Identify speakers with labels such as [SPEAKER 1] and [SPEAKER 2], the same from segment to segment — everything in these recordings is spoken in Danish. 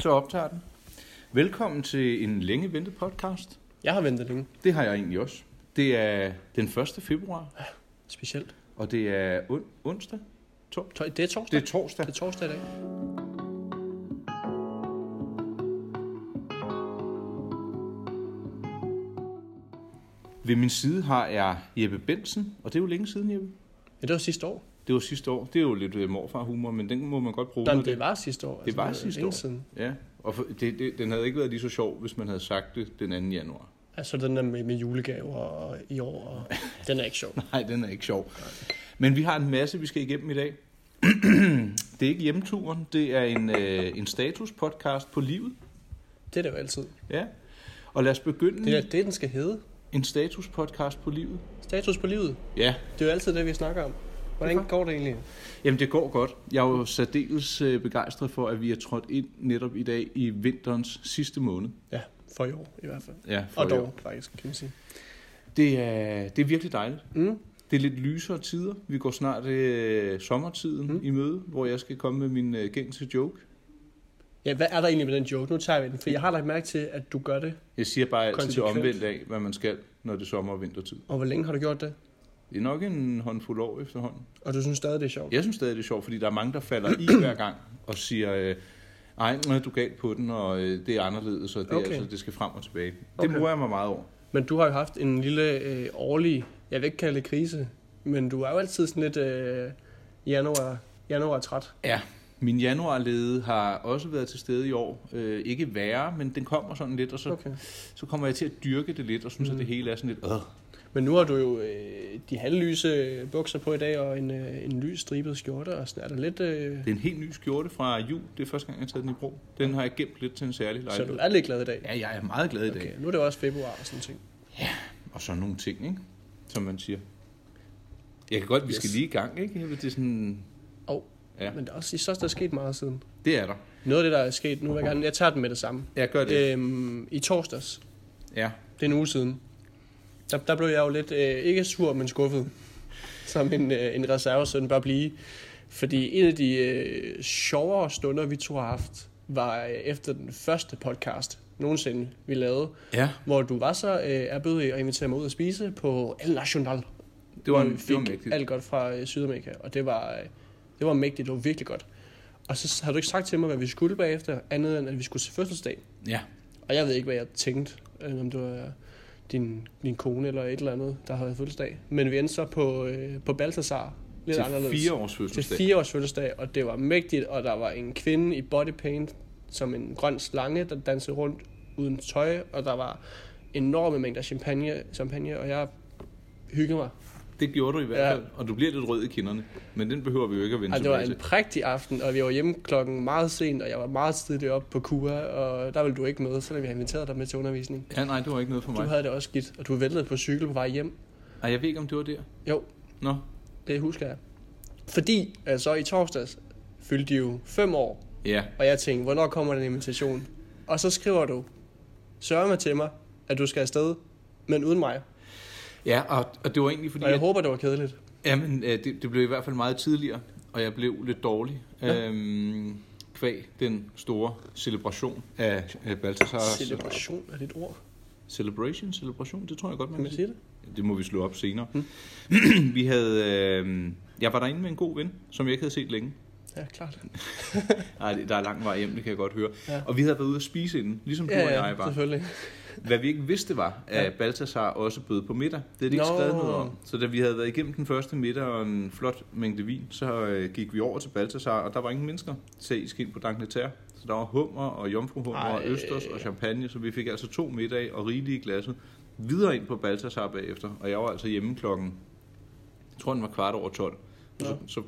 [SPEAKER 1] så optager den. Velkommen til en længe ventet podcast.
[SPEAKER 2] Jeg har ventet længe,
[SPEAKER 1] Det har jeg egentlig også. Det er den 1. februar,
[SPEAKER 2] specielt.
[SPEAKER 1] og det er on- onsdag. Tor-
[SPEAKER 2] To- Det er torsdag.
[SPEAKER 1] det er torsdag.
[SPEAKER 2] det er torsdag i dag.
[SPEAKER 1] Ved min side har jeg Jeppe Bensen, og det er jo længe siden, Jeppe.
[SPEAKER 2] Ja, det var sidste år.
[SPEAKER 1] Det var sidste år. Det er jo lidt øh, morfar-humor, men den må man godt bruge.
[SPEAKER 2] Nej,
[SPEAKER 1] når
[SPEAKER 2] men det var sidste år.
[SPEAKER 1] var sidste
[SPEAKER 2] længe
[SPEAKER 1] år.
[SPEAKER 2] Siden.
[SPEAKER 1] Ja, og for, det, det, den havde ikke været lige så sjov, hvis man havde sagt det den 2. januar.
[SPEAKER 2] Altså den der med, med julegaver og, i år, og den er ikke sjov.
[SPEAKER 1] Nej, den er ikke sjov. Men vi har en masse, vi skal igennem i dag. det er ikke hjemturen, det er en, øh, en status-podcast på livet.
[SPEAKER 2] Det er det jo altid.
[SPEAKER 1] Ja. Og lad os begynde
[SPEAKER 2] Det er det, den skal hedde.
[SPEAKER 1] en status-podcast på livet.
[SPEAKER 2] Status på livet.
[SPEAKER 1] Ja,
[SPEAKER 2] Det er jo altid det, vi snakker om. Hvordan
[SPEAKER 1] Hvorfor?
[SPEAKER 2] går det egentlig?
[SPEAKER 1] jamen det går godt. Jeg er jo særdeles øh, begejstret for, at vi er trådt ind netop i dag i vinterens sidste måned.
[SPEAKER 2] Ja, for i år i hvert fald.
[SPEAKER 1] Ja,
[SPEAKER 2] Og
[SPEAKER 1] i år.
[SPEAKER 2] dog, faktisk, kan man sige.
[SPEAKER 1] Det er, det er virkelig dejligt.
[SPEAKER 2] Mm.
[SPEAKER 1] Det er lidt lysere tider. Vi går snart øh, sommertiden mm.
[SPEAKER 2] Mm.
[SPEAKER 1] i møde, hvor jeg skal komme med min øh, gængse joke.
[SPEAKER 2] Ja, hvad er der egentlig med den joke? Nu tager vi den, for jeg har lagt mærke til, at du gør det.
[SPEAKER 1] Jeg siger bare altid det
[SPEAKER 2] Konsekvent.
[SPEAKER 1] omvendt af, hvad man skal, når det er sommer- og vintertid.
[SPEAKER 2] Og hvor længe har du gjort det?
[SPEAKER 1] Det er nok en håndfuld år efterhånden.
[SPEAKER 2] Og du synes stadig, det er sjovt?
[SPEAKER 1] Jeg synes stadig, det er sjovt, fordi der er mange, der falder i hver gang og siger, øh, ej, nu er du galt på den, og øh, det er anderledes, og det, okay.
[SPEAKER 2] Okay.
[SPEAKER 1] altså, det skal frem og tilbage. Det
[SPEAKER 2] Okay.
[SPEAKER 1] bruger jeg mig meget over.
[SPEAKER 2] Men du har jo haft en lille øh, årlig, jeg vil ikke kalde det krise, men du er jo altid sådan lidt øh, januar, januar træt.
[SPEAKER 1] Ja, min januarlede har også været til stede i år. Øh, ikke værre, men den kommer sådan lidt, og så, okay.
[SPEAKER 2] Okay.
[SPEAKER 1] så kommer jeg til at dyrke det lidt, og synes, mm. at det hele er sådan lidt, øh.
[SPEAKER 2] Men nu har du jo øh, de halvlyse bukser på i dag, og en, øh, en lys stribet skjorte, og sådan er der lidt... Øh,
[SPEAKER 1] Det er en helt ny skjorte fra jul. Det er første gang, jeg har taget den i brug. Den har jeg gemt lidt til en særlig
[SPEAKER 2] så du
[SPEAKER 1] lejlighed.
[SPEAKER 2] er lidt glad i dag.
[SPEAKER 1] Ja, jeg er meget glad i dag.
[SPEAKER 2] Okay, nu er det jo også februar og sådan ting.
[SPEAKER 1] Og så nogle ting, ikke? Som man siger. Jeg kan godt, vi skal
[SPEAKER 2] Yes.
[SPEAKER 1] lige i gang, ikke? Det er sådan...
[SPEAKER 2] Og,
[SPEAKER 1] Ja.
[SPEAKER 2] ja. Men der er også, jeg synes, der er sket meget siden.
[SPEAKER 1] Det er der.
[SPEAKER 2] Noget af det, der er sket, nu vil jeg gerne... Jeg tager den med det samme.
[SPEAKER 1] Jeg gør det. Øh.
[SPEAKER 2] Øhm, I torsdags,
[SPEAKER 1] Ja.
[SPEAKER 2] det er en uge siden, der, der blev jeg jo lidt, øh, ikke sur, men skuffet, som en, øh, en reservesøn bør blive. Fordi en af de øh, sjovere stunder, vi to har haft, var øh, efter den første podcast nogensinde, vi lavede,
[SPEAKER 1] Ja.
[SPEAKER 2] hvor du var så øh, erbødig at invitere mig ud at spise på El Nacional.
[SPEAKER 1] Det var,
[SPEAKER 2] hvor vi
[SPEAKER 1] det var
[SPEAKER 2] fik
[SPEAKER 1] mægtigt.
[SPEAKER 2] alt godt fra øh, Sydamerika, og det var, øh, det var mægtigt, det var virkelig godt. Og så havde du ikke sagt til mig, hvad vi skulle bagefter, andet end at vi skulle til fødselsdag.
[SPEAKER 1] Ja.
[SPEAKER 2] Og jeg ved ikke, hvad jeg tænkte, øh, om det var din, din kone eller et eller andet, der havde fødselsdag. Men vi endte så på, øh, på Balthasar, lidt
[SPEAKER 1] Til
[SPEAKER 2] anderledes.
[SPEAKER 1] fire års
[SPEAKER 2] til
[SPEAKER 1] fødselsdag.
[SPEAKER 2] fire års fødselsdag, og det var mægtigt, og der var en kvinde i bodypaint, som en grøn slange, der dansede rundt uden tøj, og der var enorme mængder champagne, champagne og jeg hyggede mig.
[SPEAKER 1] Det gjorde du i hvert
[SPEAKER 2] Ja.
[SPEAKER 1] fald. Ja. Og du bliver lidt rød i kinderne. Men den behøver vi jo ikke at vende
[SPEAKER 2] Altså, det var
[SPEAKER 1] tilbage
[SPEAKER 2] en
[SPEAKER 1] til.
[SPEAKER 2] prægtig aften, og vi var hjemme klokken meget sent, og jeg var meget tidligt op på Kura, og der ville du ikke med, selvom vi havde inviteret dig med til undervisning.
[SPEAKER 1] Ja, nej, det var ikke noget for
[SPEAKER 2] Du
[SPEAKER 1] mig.
[SPEAKER 2] havde det også skidt, og du væltede på cykel på vej hjem.
[SPEAKER 1] Ej, jeg ved ikke, om det var der.
[SPEAKER 2] Jo,
[SPEAKER 1] Nå.
[SPEAKER 2] det husker jeg. Fordi, altså i torsdags, fyldte de jo fem år,
[SPEAKER 1] Ja.
[SPEAKER 2] og jeg tænkte, hvornår kommer den invitation? Og så skriver du, sørg mig til mig, at du skal afsted, men uden mig.
[SPEAKER 1] Ja, og, og det var egentlig fordi...
[SPEAKER 2] Og jeg
[SPEAKER 1] at-
[SPEAKER 2] håber, det var kedeligt.
[SPEAKER 1] Jamen, øh, det, det blev i hvert fald meget tidligere, og jeg blev lidt dårlig. Ja. Øhm, kvæg den store celebration af øh, Balthasars...
[SPEAKER 2] Celebration er det et ord,
[SPEAKER 1] Celebration, celebration, det tror jeg godt, man
[SPEAKER 2] kan man sige det?
[SPEAKER 1] Det må vi slå op senere.
[SPEAKER 2] Mm.
[SPEAKER 1] vi havde... Øh, jeg var derinde med en god ven, som jeg ikke havde set længe.
[SPEAKER 2] Ja, klart.
[SPEAKER 1] Nej, det- der er lang vej hjem, det kan jeg godt høre. Ja.
[SPEAKER 2] Ja.
[SPEAKER 1] Og vi havde været ude at spise inden, ligesom du og
[SPEAKER 2] Ja,
[SPEAKER 1] jeg
[SPEAKER 2] ja,
[SPEAKER 1] var.
[SPEAKER 2] selvfølgelig.
[SPEAKER 1] Hvad vi ikke vidste var, at ja.
[SPEAKER 2] Ja.
[SPEAKER 1] Balthasar også bød på middag. Det er de ikke
[SPEAKER 2] Nå.
[SPEAKER 1] skrevet noget om. Så da vi havde været igennem den første middag og en flot mængde vin, så øh, gik vi over til Balthasar, og der var ingen mennesker. Se, I skal ind på Dagnetær. Så der var hummer og jomfruhummer Ej. og
[SPEAKER 2] Ej.
[SPEAKER 1] østers og champagne, så vi fik altså to middage og rigelige glasset. Videre ind på Balthasar bagefter, og jeg var altså hjemme klokken, jeg tror den var kvart over 12. Ja.
[SPEAKER 2] Nå.
[SPEAKER 1] Så, så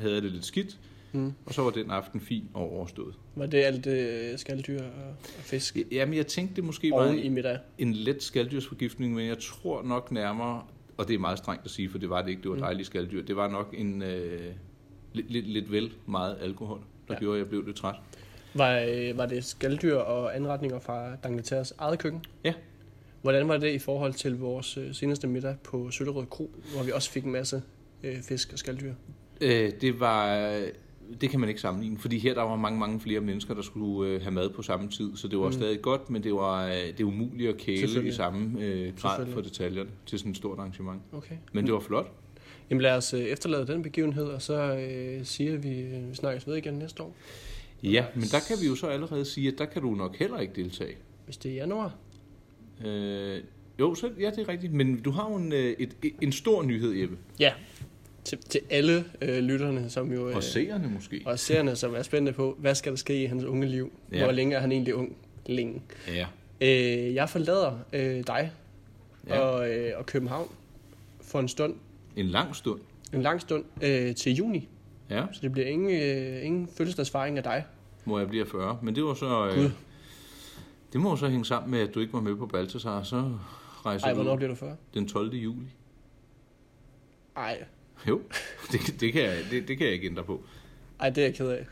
[SPEAKER 1] havde jeg det lidt skidt,
[SPEAKER 2] Mm.
[SPEAKER 1] og så var den aften fin og overstået.
[SPEAKER 2] Var det alt øh, skaldyr og, og fisk
[SPEAKER 1] Jamen, jeg tænkte, det måske var...
[SPEAKER 2] oven i middag?
[SPEAKER 1] en let skalddyrsforgiftning, men jeg tror nok nærmere, og det er meget strengt at sige, for det var det ikke, det var
[SPEAKER 2] Mm.
[SPEAKER 1] dejlige skalddyr, det var nok en øh, lidt, lidt, lidt vel meget alkohol, der ja.
[SPEAKER 2] Ja.
[SPEAKER 1] gjorde, at jeg blev lidt træt.
[SPEAKER 2] Var, øh, var det skaldyr og anretninger fra Dangletærs eget køkken?
[SPEAKER 1] Ja.
[SPEAKER 2] Hvordan var det i forhold til vores øh, seneste middag på Søllerød Kro, hvor vi også fik en masse øh, fisk og skaldyr?
[SPEAKER 1] Øh, det var det kan man ikke sammenligne, fordi her der var mange, mange flere mennesker, der skulle øh, have mad på samme tid, så det var mm. stadig godt, men det var øh, det er umuligt at kæle i
[SPEAKER 2] Selvfølgelig.
[SPEAKER 1] samme øh, grad
[SPEAKER 2] Selvfølgelig.
[SPEAKER 1] for detaljerne til sådan et stort arrangement.
[SPEAKER 2] Okay.
[SPEAKER 1] Men det var flot.
[SPEAKER 2] Jamen lad os øh, efterlade den begivenhed, og så øh, siger vi, øh, vi snakkes ved igen næste år,
[SPEAKER 1] Ja, men der kan vi jo så allerede sige, at der kan du nok heller ikke deltage.
[SPEAKER 2] hvis det er januar.
[SPEAKER 1] Øh, jo, så, ja, det er rigtigt, men du har jo en, øh, et, en stor nyhed, Jeppe.
[SPEAKER 2] Ja, til, til alle øh, lytterne, som jo...
[SPEAKER 1] Og seerne måske.
[SPEAKER 2] og seerne, som er spændte på, hvad skal der ske i hans unge liv?
[SPEAKER 1] Ja.
[SPEAKER 2] Ja. Hvor længe er han egentlig ung? Længe.
[SPEAKER 1] Ja.
[SPEAKER 2] Øh, jeg forlader øh, dig
[SPEAKER 1] Ja.
[SPEAKER 2] ja. og, øh, og København for en stund,
[SPEAKER 1] En lang stund.
[SPEAKER 2] en lang stund, øh, til juni.
[SPEAKER 1] Ja,
[SPEAKER 2] Så det bliver ingen, øh, ingen fødselsdagsfejring af dig.
[SPEAKER 1] hvor jeg bliver 40. Men det var så...
[SPEAKER 2] Gud.
[SPEAKER 1] Øh, det må jo så hænge sammen med, at du ikke var med på Baltasar, så rejser
[SPEAKER 2] Ej,
[SPEAKER 1] Altså, du
[SPEAKER 2] hvornår
[SPEAKER 1] ud
[SPEAKER 2] bliver du 40?
[SPEAKER 1] den 12. juli.
[SPEAKER 2] Ej,
[SPEAKER 1] Jo, det, det, kan jeg, det, det kan jeg ikke ændre på.
[SPEAKER 2] ej, det er jeg ked af.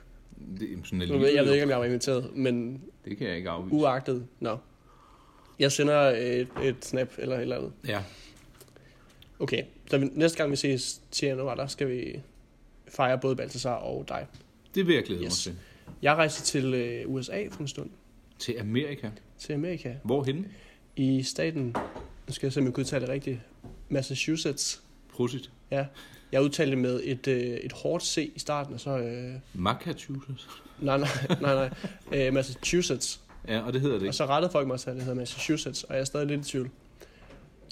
[SPEAKER 1] Det, jamen, sådan er
[SPEAKER 2] Nu ved,
[SPEAKER 1] livet,
[SPEAKER 2] jeg ved
[SPEAKER 1] jo.
[SPEAKER 2] ikke, om jeg var inviteret, men
[SPEAKER 1] Det kan jeg ikke afvise.
[SPEAKER 2] uagtet, nå. No. Jeg sender et, et snap eller et eller andet.
[SPEAKER 1] ja,
[SPEAKER 2] Okay, så vi- næste gang vi ses til januar, der skal vi fejre både Baltasar og dig.
[SPEAKER 1] det vil jeg glæde yes. mig
[SPEAKER 2] Yes.
[SPEAKER 1] til.
[SPEAKER 2] Jeg rejser til øh, USA for en stund,
[SPEAKER 1] Til Amerika.
[SPEAKER 2] til Amerika,
[SPEAKER 1] Hvorhen?
[SPEAKER 2] i staten, nu skal jeg se, om jeg kan udtale det rigtigt, Massachusetts.
[SPEAKER 1] Prosit.
[SPEAKER 2] Ja, jeg udtalte det med et, øh, et hårdt C i starten, og så... Øh,
[SPEAKER 1] Massachusetts.
[SPEAKER 2] nej, nej, nej, nej, øh, Massachusetts.
[SPEAKER 1] Ja, og det hedder det
[SPEAKER 2] Og
[SPEAKER 1] ikke.
[SPEAKER 2] så rettede folk mig til, at det hedder Massachusetts, og jeg er stadig lidt i tvivl.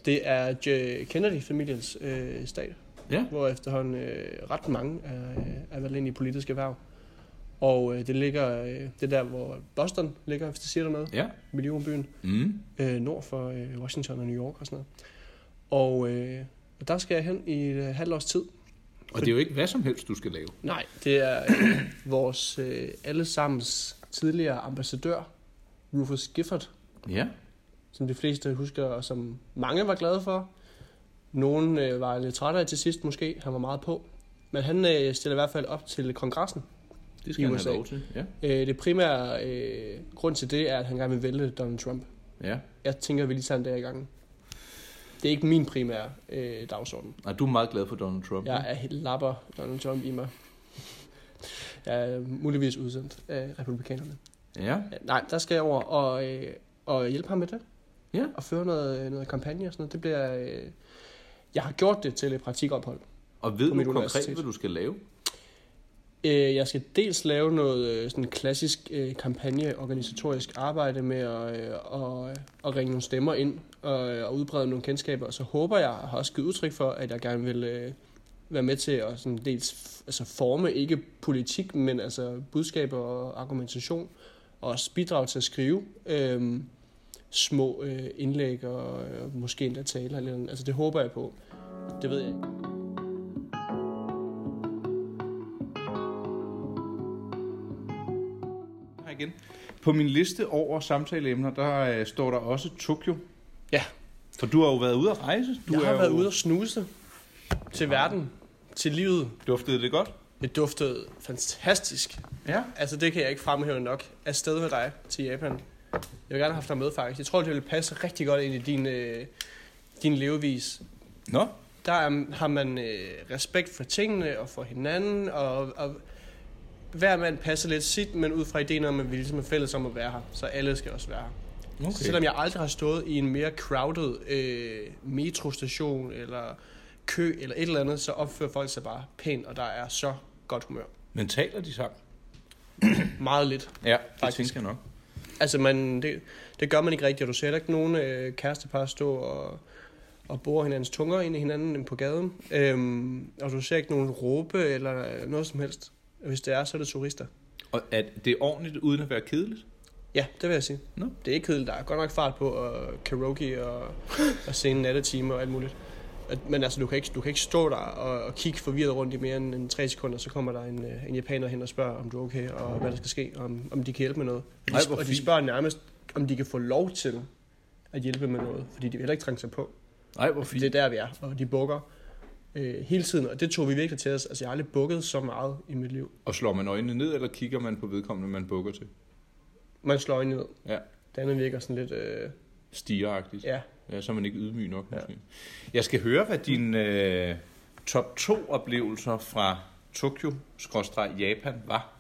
[SPEAKER 2] Det er J- Kennedy-familiens øh, stat,
[SPEAKER 1] Ja.
[SPEAKER 2] hvor efterhånden øh, ret mange er, øh, er valgt ind i politiske erhverv. Og øh, det ligger, øh, det er der, hvor Boston ligger, hvis det siger dig noget,
[SPEAKER 1] Ja.
[SPEAKER 2] millionbyen.
[SPEAKER 1] Mm.
[SPEAKER 2] øh, nord for øh, Washington og New York og sådan noget. Og øh, og der skal jeg hen i et øh, halvt års tid.
[SPEAKER 1] Og det er jo ikke hvad som helst, du skal lave.
[SPEAKER 2] Nej, det er øh, vores øh, allesammens tidligere ambassadør, Rufus Gifford,
[SPEAKER 1] Ja.
[SPEAKER 2] som de fleste husker, og som mange var glade for. Nogle øh, var lidt trætte af til sidst måske, han var meget på. Men han øh, stiller i hvert fald op til kongressen.
[SPEAKER 1] Det
[SPEAKER 2] I
[SPEAKER 1] skal han
[SPEAKER 2] USA.
[SPEAKER 1] have lov til. Ja.
[SPEAKER 2] Øh, det primære øh, grund til det er, at han gerne vil vælge Donald Trump.
[SPEAKER 1] ja.
[SPEAKER 2] Jeg tænker, vi lige tager en dag i gangen. Det er ikke min primære øh, dagsorden.
[SPEAKER 1] Og du er meget glad for Donald Trump.
[SPEAKER 2] Jeg er helt lapper Donald Trump i mig. Jeg er muligvis udsendt af republikanerne.
[SPEAKER 1] ikke? Ja.
[SPEAKER 2] Ja, Nej, der skal jeg over og, øh, og hjælpe ham med det.
[SPEAKER 1] Ja.
[SPEAKER 2] Og føre noget, øh, noget kampagne og sådan noget. Det bliver... Øh, jeg har gjort det til et praktikophold.
[SPEAKER 1] Og ved
[SPEAKER 2] På mit
[SPEAKER 1] du konkret,
[SPEAKER 2] universitet.
[SPEAKER 1] hvad du skal lave?
[SPEAKER 2] Øh, jeg skal dels lave noget øh, sådan klassisk øh, kampagneorganisatorisk arbejde med at, øh, at, at ringe nogle stemmer ind og, øh, og udbrede nogle kendskaber. Så håber jeg, og har også givet udtryk for, at jeg gerne vil øh, være med til at sådan dels f- altså forme ikke politik, men altså budskaber og argumentation, og også bidrage til at skrive øh, små øh, indlæg og øh, måske endda taler. Eller, andet. altså det håber jeg på. Det ved jeg ikke.
[SPEAKER 1] Her igen. På min liste over samtaleemner, der øh, står der også Tokyo.
[SPEAKER 2] Ja.
[SPEAKER 1] For du har jo været ude at rejse. Du
[SPEAKER 2] Du jeg
[SPEAKER 1] er
[SPEAKER 2] har været
[SPEAKER 1] jo...
[SPEAKER 2] ude og snuse til verden, til livet.
[SPEAKER 1] Duftede det godt?
[SPEAKER 2] Det duftede fantastisk.
[SPEAKER 1] Ja.
[SPEAKER 2] Altså, det kan jeg ikke fremhæve nok. Afsted med dig til Japan. Jeg vil gerne have haft dig med, faktisk. Jeg tror, det ville passe rigtig godt ind i din, øh, din levevis.
[SPEAKER 1] Nå,
[SPEAKER 2] Der er, har man øh, respekt for tingene og for hinanden, og, og hver mand passer lidt sit, men ud fra ideen om, at vi ligesom er fælles om at være her. Så alle skal også være her.
[SPEAKER 1] okay.
[SPEAKER 2] Okay. Selvom jeg aldrig har stået i en mere crowded øh, metrostation eller kø eller et eller andet, så opfører folk sig bare pænt, og der er så godt humør.
[SPEAKER 1] Men taler de sammen?
[SPEAKER 2] Meget lidt.
[SPEAKER 1] Ja, det tænker
[SPEAKER 2] Faktisk.
[SPEAKER 1] jeg nok.
[SPEAKER 2] Altså, man, det, det gør man ikke rigtigt, og du ser heller ikke nogen øh, kærestepar stå og, og bore hinandens tunger ind i hinanden på gaden. Øhm, og du ser ikke nogen råbe eller noget som helst. Hvis det er, så er det turister.
[SPEAKER 1] Og at det er ordentligt, uden at være kedeligt?
[SPEAKER 2] Ja, det vil jeg sige.
[SPEAKER 1] Nå.
[SPEAKER 2] Det er ikke kedeligt. Der er godt nok fart på, og karaoke og, og sene nattetimer og alt muligt. At- Men altså, du kan ikke, du kan ikke stå der og, og kigge forvirret rundt i mere end, end tre sekunder, så kommer der en, øh, en japaner hen og spørger, om du er okay, og hvad der skal ske, og om, om de kan hjælpe med noget. Og de,
[SPEAKER 1] Ej, hvor
[SPEAKER 2] og de
[SPEAKER 1] fint.
[SPEAKER 2] spørger nærmest, om de kan få lov til at hjælpe med noget, fordi de vil heller ikke trænge sig på.
[SPEAKER 1] Nej, hvor
[SPEAKER 2] Fordi det er der, vi er, og de bukker øh, hele tiden, og det tog vi virkelig til os. Altså, jeg har aldrig bukket så meget i mit liv.
[SPEAKER 1] Og slår man øjnene ned, eller kigger man på vedkommende, man bukker til?
[SPEAKER 2] Man slår øjnene ned.
[SPEAKER 1] Ja.
[SPEAKER 2] Det andet virker sådan lidt, øh,
[SPEAKER 1] Stigeragtigt.
[SPEAKER 2] ja,
[SPEAKER 1] Ja, så er man ikke ydmyg nok,
[SPEAKER 2] Ja.
[SPEAKER 1] måske. Jeg skal høre, hvad dine øh, top 2 oplevelser fra Tokyo-Japan var.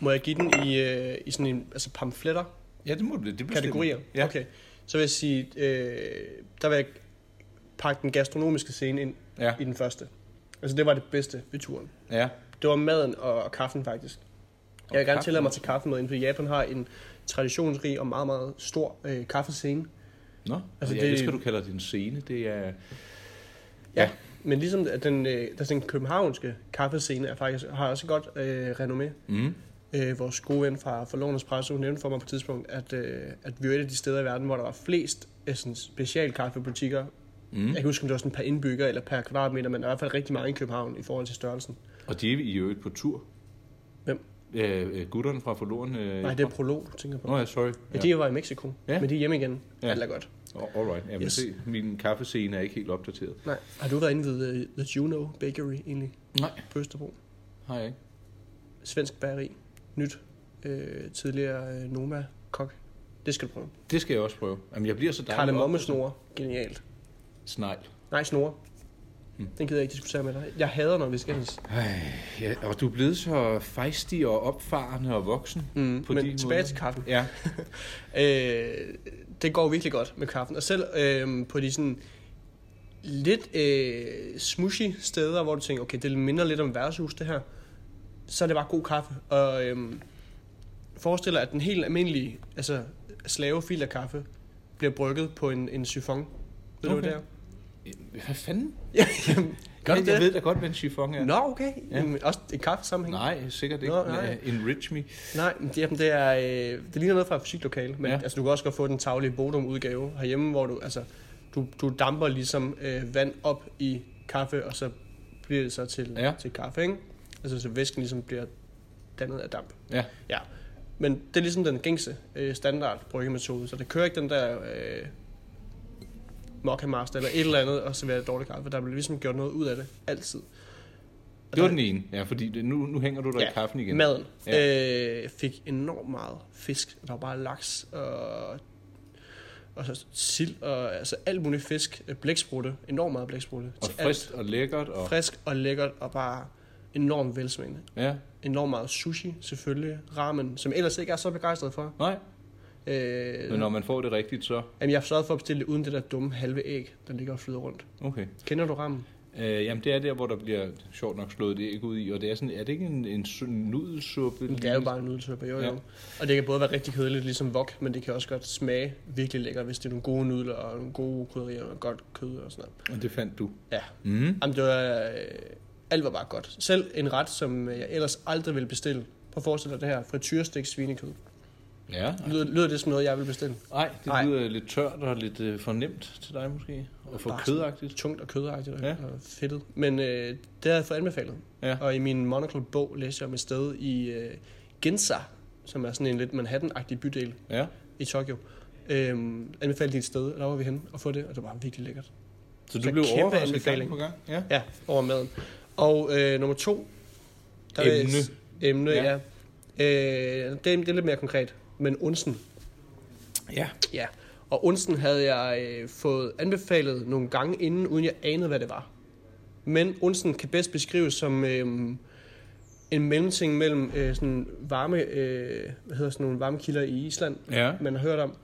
[SPEAKER 2] Må jeg give den i, øh, i sådan en altså pamfletter?
[SPEAKER 1] Ja, det må det. det bestemmer.
[SPEAKER 2] Kategorier?
[SPEAKER 1] Ja.
[SPEAKER 2] Okay. Så vil jeg sige, øh, der vil jeg pakke den gastronomiske scene ind
[SPEAKER 1] Ja,
[SPEAKER 2] i den første. Altså det var det bedste ved turen.
[SPEAKER 1] ja.
[SPEAKER 2] Det var maden og, og kaffen faktisk. Jeg vil gerne
[SPEAKER 1] kaffen
[SPEAKER 2] tillade mig at
[SPEAKER 1] også.
[SPEAKER 2] tage kaffe med ind, fordi Japan har en traditionsrig og meget, meget stor øh, kaffescene.
[SPEAKER 1] Nå,
[SPEAKER 2] Altså,
[SPEAKER 1] altså, jeg
[SPEAKER 2] det-
[SPEAKER 1] det... elsker, du kalder det en scene. Det er...
[SPEAKER 2] Ja. Men ligesom at den, øh, altså den københavnske kaffescene er faktisk, har også godt øh, renommé.
[SPEAKER 1] Mm.
[SPEAKER 2] Øh, vores gode ven fra, fra Lovens Presse, hun nævnte for mig på et tidspunkt, at, øh, at vi var et af de steder i verden, hvor der var flest øh, sådan specialkaffebutikker. Mm.
[SPEAKER 1] Mm.
[SPEAKER 2] Jeg kan huske, om det var sådan per indbygger eller per kvadratmeter, men der er i hvert fald rigtig mange i København i forhold til størrelsen.
[SPEAKER 1] Og de er i øvrigt på tur.
[SPEAKER 2] Hvem?
[SPEAKER 1] Øh, øh, gutterne fra forloren. Øh,
[SPEAKER 2] Nej, det er prolog, tænker jeg på.
[SPEAKER 1] Nå ja, sorry.
[SPEAKER 2] Ja, de var i Mexico, ja.
[SPEAKER 1] Ja.
[SPEAKER 2] men de er hjemme igen. Ja.
[SPEAKER 1] Ja.
[SPEAKER 2] Alt er godt.
[SPEAKER 1] Oh, all right. Jamen,
[SPEAKER 2] Yes.
[SPEAKER 1] yes. se, min kaffescene er ikke helt opdateret.
[SPEAKER 2] Nej. Har du været inde ved øh, The Juno Bakery egentlig
[SPEAKER 1] Nej,
[SPEAKER 2] på Østerbro?
[SPEAKER 1] har jeg ikke.
[SPEAKER 2] Svensk bageri. Nyt. Øh, tidligere øh, Noma-kok. Det skal du prøve.
[SPEAKER 1] Det skal jeg også prøve. Jamen, jeg bliver så dejlig.
[SPEAKER 2] Kardemommesnore. Genialt.
[SPEAKER 1] Snegl.
[SPEAKER 2] Nej, snore.
[SPEAKER 1] Mm.
[SPEAKER 2] Den gider jeg ikke diskutere med dig. Jeg hader, når vi skændes.
[SPEAKER 1] Ej, ja, og du er blevet så fejstig og opfarende og voksen.
[SPEAKER 2] Mm,
[SPEAKER 1] På
[SPEAKER 2] men
[SPEAKER 1] de
[SPEAKER 2] tilbage
[SPEAKER 1] måder.
[SPEAKER 2] til kaffen.
[SPEAKER 1] Ja.
[SPEAKER 2] Øh, det går virkelig godt med kaffen. Og selv øh, på de sådan lidt øh, smushy steder, hvor du tænker, okay, det minder lidt om værtshus det her, så er det bare god kaffe. Og øh, forestil dig, at den helt almindelige altså, slavefilterkaffe bliver brygget på en, en syfon. Ved okay. du,
[SPEAKER 1] Okay.
[SPEAKER 2] hvad det er?
[SPEAKER 1] Hvad fanden?
[SPEAKER 2] Ja, jamen, gør du
[SPEAKER 1] jeg, jeg
[SPEAKER 2] det?
[SPEAKER 1] ved da godt, hvad en chiffon er.
[SPEAKER 2] Nå, okay.
[SPEAKER 1] Ja.
[SPEAKER 2] Jamen, også i kaffesammenhæng.
[SPEAKER 1] Nej, sikkert ikke.
[SPEAKER 2] Nå, nej.
[SPEAKER 1] Øh, Enrich me.
[SPEAKER 2] Nej, men det, jamen, det er øh, det ligner noget fra et fysiklokale, men ja.
[SPEAKER 1] Ja.
[SPEAKER 2] altså, du kan også godt få den taglige Bodum udgave herhjemme, hvor du altså du, du damper ligesom øh, vand op i kaffe, og så bliver det så til, ja.
[SPEAKER 1] Ja.
[SPEAKER 2] til kaffe, ikke? Altså så væsken ligesom bliver dannet af damp.
[SPEAKER 1] Ja.
[SPEAKER 2] Ja. Men det er ligesom den gængse øh, standard bryggemetode, så det kører ikke den der øh, mokka master eller et eller andet, og serverer dårlig kaffe. Der bliver ligesom gjort noget ud af det, altid. Og
[SPEAKER 1] Det var
[SPEAKER 2] der-
[SPEAKER 1] den ene. Ja, fordi det, nu, nu hænger du dig
[SPEAKER 2] Ja,
[SPEAKER 1] i kaffen igen.
[SPEAKER 2] Maden ja.
[SPEAKER 1] Ja.
[SPEAKER 2] øh, fik enormt meget fisk. Der var bare laks og, og så sild og altså alt muligt fisk. Øh, Blæksprutte. Enormt meget blæksprutte.
[SPEAKER 1] Og
[SPEAKER 2] til alt.
[SPEAKER 1] frisk og lækkert. Og,
[SPEAKER 2] frisk og lækkert og bare enormt velsmagende.
[SPEAKER 1] ja,
[SPEAKER 2] Enormt meget sushi selvfølgelig. Ramen, som jeg ellers ikke er så begejstret for.
[SPEAKER 1] nej.
[SPEAKER 2] Øh,
[SPEAKER 1] Men når man får det rigtigt, så...
[SPEAKER 2] jamen, jeg har sørget for at bestille det uden det der dumme halve æg, der ligger og flyder rundt.
[SPEAKER 1] Okay.
[SPEAKER 2] Kender du ramen?
[SPEAKER 1] Øh, jamen, det er der, hvor der bliver sjovt nok slået det æg ud i. Og det er sådan, er det ikke en, en sø- nudelsuppe?
[SPEAKER 2] Men det er jo bare en nudelsuppe, jo, jo. Ja.
[SPEAKER 1] Ja.
[SPEAKER 2] Og det kan både være rigtig kedeligt, ligesom wok, men det kan også godt smage virkelig lækkert, hvis det er nogle gode nudler og nogle gode krydderier og godt kød og sådan noget.
[SPEAKER 1] Og det fandt du.
[SPEAKER 2] Ja,
[SPEAKER 1] Mm.
[SPEAKER 2] Jamen, det var, øh, alt var bare godt. Selv en ret, som jeg ellers aldrig ville bestille. Prøv at forestille dig det her, frityrstik svinekød.
[SPEAKER 1] Ja.
[SPEAKER 2] Lyder, lyder det som noget, jeg vil bestille?
[SPEAKER 1] Nej, det
[SPEAKER 2] Nej.
[SPEAKER 1] lyder lidt tørt og lidt øh, fornemt til dig måske. Og for
[SPEAKER 2] Bare sådan
[SPEAKER 1] kødagtigt.
[SPEAKER 2] Tungt og kødagtigt ja.
[SPEAKER 1] Ja.
[SPEAKER 2] og fedtet. Men øh, det havde jeg fået anbefalet.
[SPEAKER 1] Ja.
[SPEAKER 2] Og i min Monocle-bog læser jeg om et sted i øh, Gensa, som er sådan en lidt Manhattan-agtig bydel.
[SPEAKER 1] Ja.
[SPEAKER 2] i Tokyo. Øhm, anbefalede de et sted, og der var vi hen og få det, og det var virkelig lækkert.
[SPEAKER 1] Så
[SPEAKER 2] Så
[SPEAKER 1] du blev
[SPEAKER 2] kæmpe
[SPEAKER 1] overrasket gang
[SPEAKER 2] anbefaling.
[SPEAKER 1] på gang? Ja.
[SPEAKER 2] Ja, over maden. Og øh, nummer to. vil jeg
[SPEAKER 1] Emne.
[SPEAKER 2] s- Emne, ja.
[SPEAKER 1] Ja.
[SPEAKER 2] ja. Øh, det, er- det er lidt mere konkret, men Unsen.
[SPEAKER 1] Ja.
[SPEAKER 2] Ja. Og Unsen havde jeg øh, fået anbefalet nogle gange inden, uden jeg anede, hvad det var. Men Unsen kan bedst beskrives som øh, en mellemting mellem øh, sådan varme, øh, hvad hedder sådan nogle varmekilder i Island,
[SPEAKER 1] Ja.
[SPEAKER 2] man har hørt om.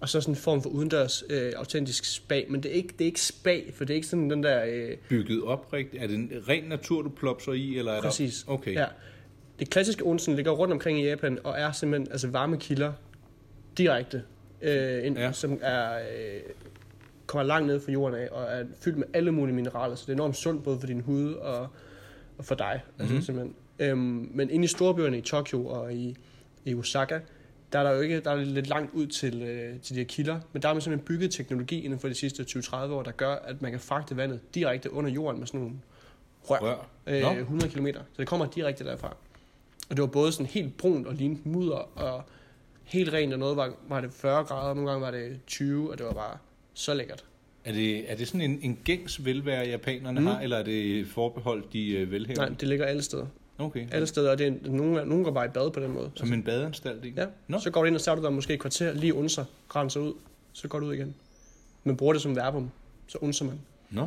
[SPEAKER 2] Og så sådan en form for udendørs øh, autentisk spa. Men det er, ikke, det er ikke spa, for det er ikke sådan den der... Øh,
[SPEAKER 1] Bygget op rigtigt. Er det en ren natur, du plopser i? Eller er
[SPEAKER 2] præcis.
[SPEAKER 1] Der... Okay.
[SPEAKER 2] Ja. Det klassiske onsen ligger rundt omkring i Japan og er simpelthen altså varme kilder direkte, øh, ind, ja.
[SPEAKER 1] Ja.
[SPEAKER 2] som er, øh, kommer langt ned fra jorden af og er fyldt med alle mulige mineraler. Så det er enormt sundt både for din hud og, og for dig. Altså, mm-hmm. simpelthen. Øhm, men inde i storbyerne i Tokyo og i, i Osaka, der er der jo ikke, der er det lidt langt ud til, øh, til de her kilder, men der har man simpelthen bygget teknologi inden for de sidste 20-30 år, der gør, at man kan fragte vandet direkte under jorden med sådan nogle rør.
[SPEAKER 1] Rør.
[SPEAKER 2] Øh,
[SPEAKER 1] Nå.
[SPEAKER 2] 100 km. Så det kommer direkte derfra. Og det var både sådan helt brunt og lignende mudder, og helt rent, og noget var, var det 40 grader, og nogle gange var det 20, og det var bare så lækkert.
[SPEAKER 1] Er, det, er det sådan en, en gængs velvære, japanerne
[SPEAKER 2] Mm.
[SPEAKER 1] mm. har? Eller er det forbeholdt de øh,
[SPEAKER 2] Nej,
[SPEAKER 1] velhavende?
[SPEAKER 2] det ligger alle steder.
[SPEAKER 1] Okay.
[SPEAKER 2] Alle steder, og det er, nogen, nogen går bare i bad på den måde.
[SPEAKER 1] Som en badeanstalt, ikke?
[SPEAKER 2] Ja,
[SPEAKER 1] Nå.
[SPEAKER 2] så går du ind og starter der måske et kvarter, lige unser, renser ud, så går du ud igen. Men bruger det som verbum, så unser man.
[SPEAKER 1] Nå.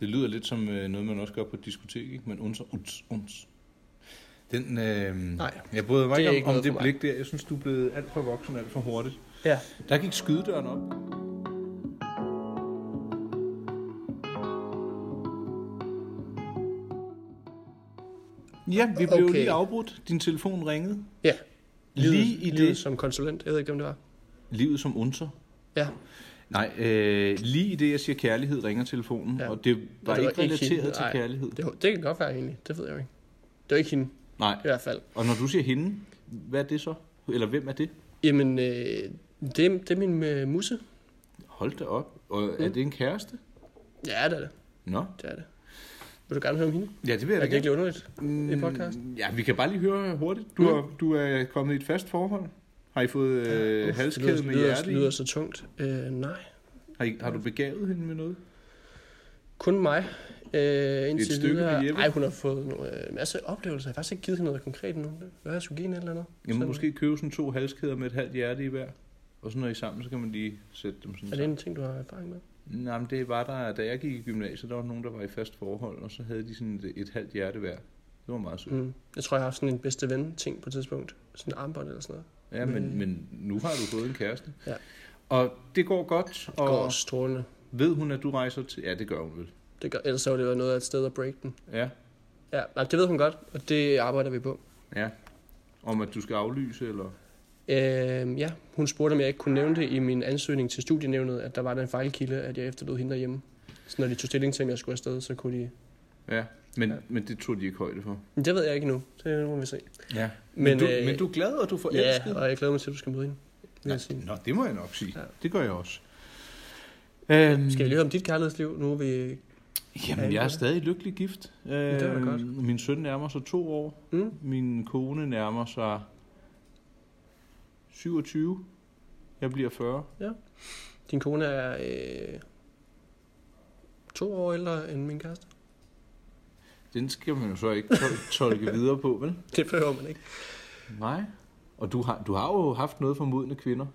[SPEAKER 1] Det lyder lidt som øh, noget, man også gør på et diskotek, ikke? Men unser, uns, uns. Den, øh,
[SPEAKER 2] Nej.
[SPEAKER 1] jeg bryder mig
[SPEAKER 2] Det er
[SPEAKER 1] ikke
[SPEAKER 2] ikke
[SPEAKER 1] om, om
[SPEAKER 2] noget
[SPEAKER 1] det
[SPEAKER 2] for mig.
[SPEAKER 1] blik der. Jeg synes, du er blevet alt for voksen, alt for hurtigt.
[SPEAKER 2] Ja.
[SPEAKER 1] Der gik skydedøren op. Ja, vi blev okay.
[SPEAKER 2] Okay.
[SPEAKER 1] lige afbrudt. Din telefon ringede.
[SPEAKER 2] Ja.
[SPEAKER 1] Lige
[SPEAKER 2] Livet,
[SPEAKER 1] i det-
[SPEAKER 2] livet som konsulent. Jeg ved ikke, hvem det var.
[SPEAKER 1] Livet som unser.
[SPEAKER 2] Ja.
[SPEAKER 1] Nej, øh, lige i det, jeg siger kærlighed, ringer telefonen, ja.
[SPEAKER 2] Ja.
[SPEAKER 1] og det var
[SPEAKER 2] Og det
[SPEAKER 1] ikke
[SPEAKER 2] var ikke
[SPEAKER 1] relateret
[SPEAKER 2] hende,
[SPEAKER 1] til
[SPEAKER 2] nej.
[SPEAKER 1] kærlighed.
[SPEAKER 2] Det, det kan godt være egentlig. Det ved jeg jo ikke. Det var ikke hende,
[SPEAKER 1] Nej,
[SPEAKER 2] i hvert fald.
[SPEAKER 1] og når du siger hende, hvad er det så? Eller hvem er det?
[SPEAKER 2] Jamen, øh, det, er- det er min øh, musse.
[SPEAKER 1] Hold da op. Og er det en kæreste?
[SPEAKER 2] Ja, det er det.
[SPEAKER 1] Nå.
[SPEAKER 2] Det er det. Vil du gerne høre om hende?
[SPEAKER 1] Ja, det vil
[SPEAKER 2] Er
[SPEAKER 1] jeg da
[SPEAKER 2] det
[SPEAKER 1] gerne.
[SPEAKER 2] ikke lidt underligt? i podcast?
[SPEAKER 1] Mm, Ja, vi kan bare lige høre hurtigt. Du,
[SPEAKER 2] Mm.
[SPEAKER 1] er, du er kommet i et fast forhold. Har I fået øh,
[SPEAKER 2] Uf, det
[SPEAKER 1] halskæde
[SPEAKER 2] lyder-
[SPEAKER 1] med
[SPEAKER 2] lyder,
[SPEAKER 1] hjerte i?
[SPEAKER 2] lyder så tungt. Øh, nej.
[SPEAKER 1] Har, I, har du begavet hende med noget?
[SPEAKER 2] Kun mig. Øh, indtil
[SPEAKER 1] stykke
[SPEAKER 2] videre.
[SPEAKER 1] med Jeppe.
[SPEAKER 2] Ej, hun har fået nogle, øh, masser af oplevelser. Jeg har faktisk ikke givet hende noget konkret nu. Hvad jeg skulle give hende et eller andet?
[SPEAKER 1] Jamen,
[SPEAKER 2] Sådan.
[SPEAKER 1] måske købe sådan to halskæder med et halvt hjerte i hver. Og så når I er sammen, så kan man lige sætte dem sådan
[SPEAKER 2] Er det
[SPEAKER 1] sammen.
[SPEAKER 2] en ting, du har erfaring med?
[SPEAKER 1] Nej, men det var der, da jeg gik i gymnasiet, der var nogen, der var i fast forhold, og så havde de sådan et, et halvt hjerte hver. Det var meget sødt.
[SPEAKER 2] Mm. Jeg tror, jeg har haft sådan en bedste ven-ting på et tidspunkt. Sådan en armbånd eller sådan noget.
[SPEAKER 1] Ja, men,
[SPEAKER 2] Mm.
[SPEAKER 1] men nu har du fået en kæreste.
[SPEAKER 2] Ja.
[SPEAKER 1] Og det går godt,
[SPEAKER 2] Det
[SPEAKER 1] og
[SPEAKER 2] går strålende.
[SPEAKER 1] ved hun, at du rejser til... Ja, det gør hun vel.
[SPEAKER 2] Det gør, ellers så var det jo noget af et sted at break den.
[SPEAKER 1] Ja,
[SPEAKER 2] Ja, nej, det ved hun godt, og det arbejder vi på.
[SPEAKER 1] ja. Om at du skal aflyse, eller...
[SPEAKER 2] Øh, ja, hun spurgte, om jeg ikke kunne nævne det i min ansøgning til studienævnet, at der var der en fejlkilde, at jeg efterlod hende derhjemme. Så når de tog stilling til, om jeg skulle afsted, så kunne de...
[SPEAKER 1] Ja, men, ja.
[SPEAKER 2] Ja.
[SPEAKER 1] men det tog de ikke højde for.
[SPEAKER 2] Men det ved jeg ikke nu. Det må vi se.
[SPEAKER 1] Ja. Men,
[SPEAKER 2] Men,
[SPEAKER 1] men, du,
[SPEAKER 2] øh,
[SPEAKER 1] men du er glad, og du får
[SPEAKER 2] Ja, og jeg glæder mig til, at du skal møde hende. Vil jeg sige.
[SPEAKER 1] Nej, Nå, det må jeg nok sige. Ja.
[SPEAKER 2] Ja.
[SPEAKER 1] Det gør jeg også. Øhm,
[SPEAKER 2] Skal vi lige høre om dit kærlighedsliv? Nu er vi...
[SPEAKER 1] Jamen, jeg er stadig lykkelig gift. Øh,
[SPEAKER 2] det er da godt.
[SPEAKER 1] Min søn nærmer sig to år.
[SPEAKER 2] Mm?
[SPEAKER 1] Min kone nærmer sig 27. Jeg bliver 40.
[SPEAKER 2] Din kone er øh, to år ældre end min kæreste.
[SPEAKER 1] Den skal man jo så ikke tol- tolke videre på, vel?
[SPEAKER 2] Det behøver man ikke.
[SPEAKER 1] Nej. Og du har, du har jo haft noget for modne kvinder.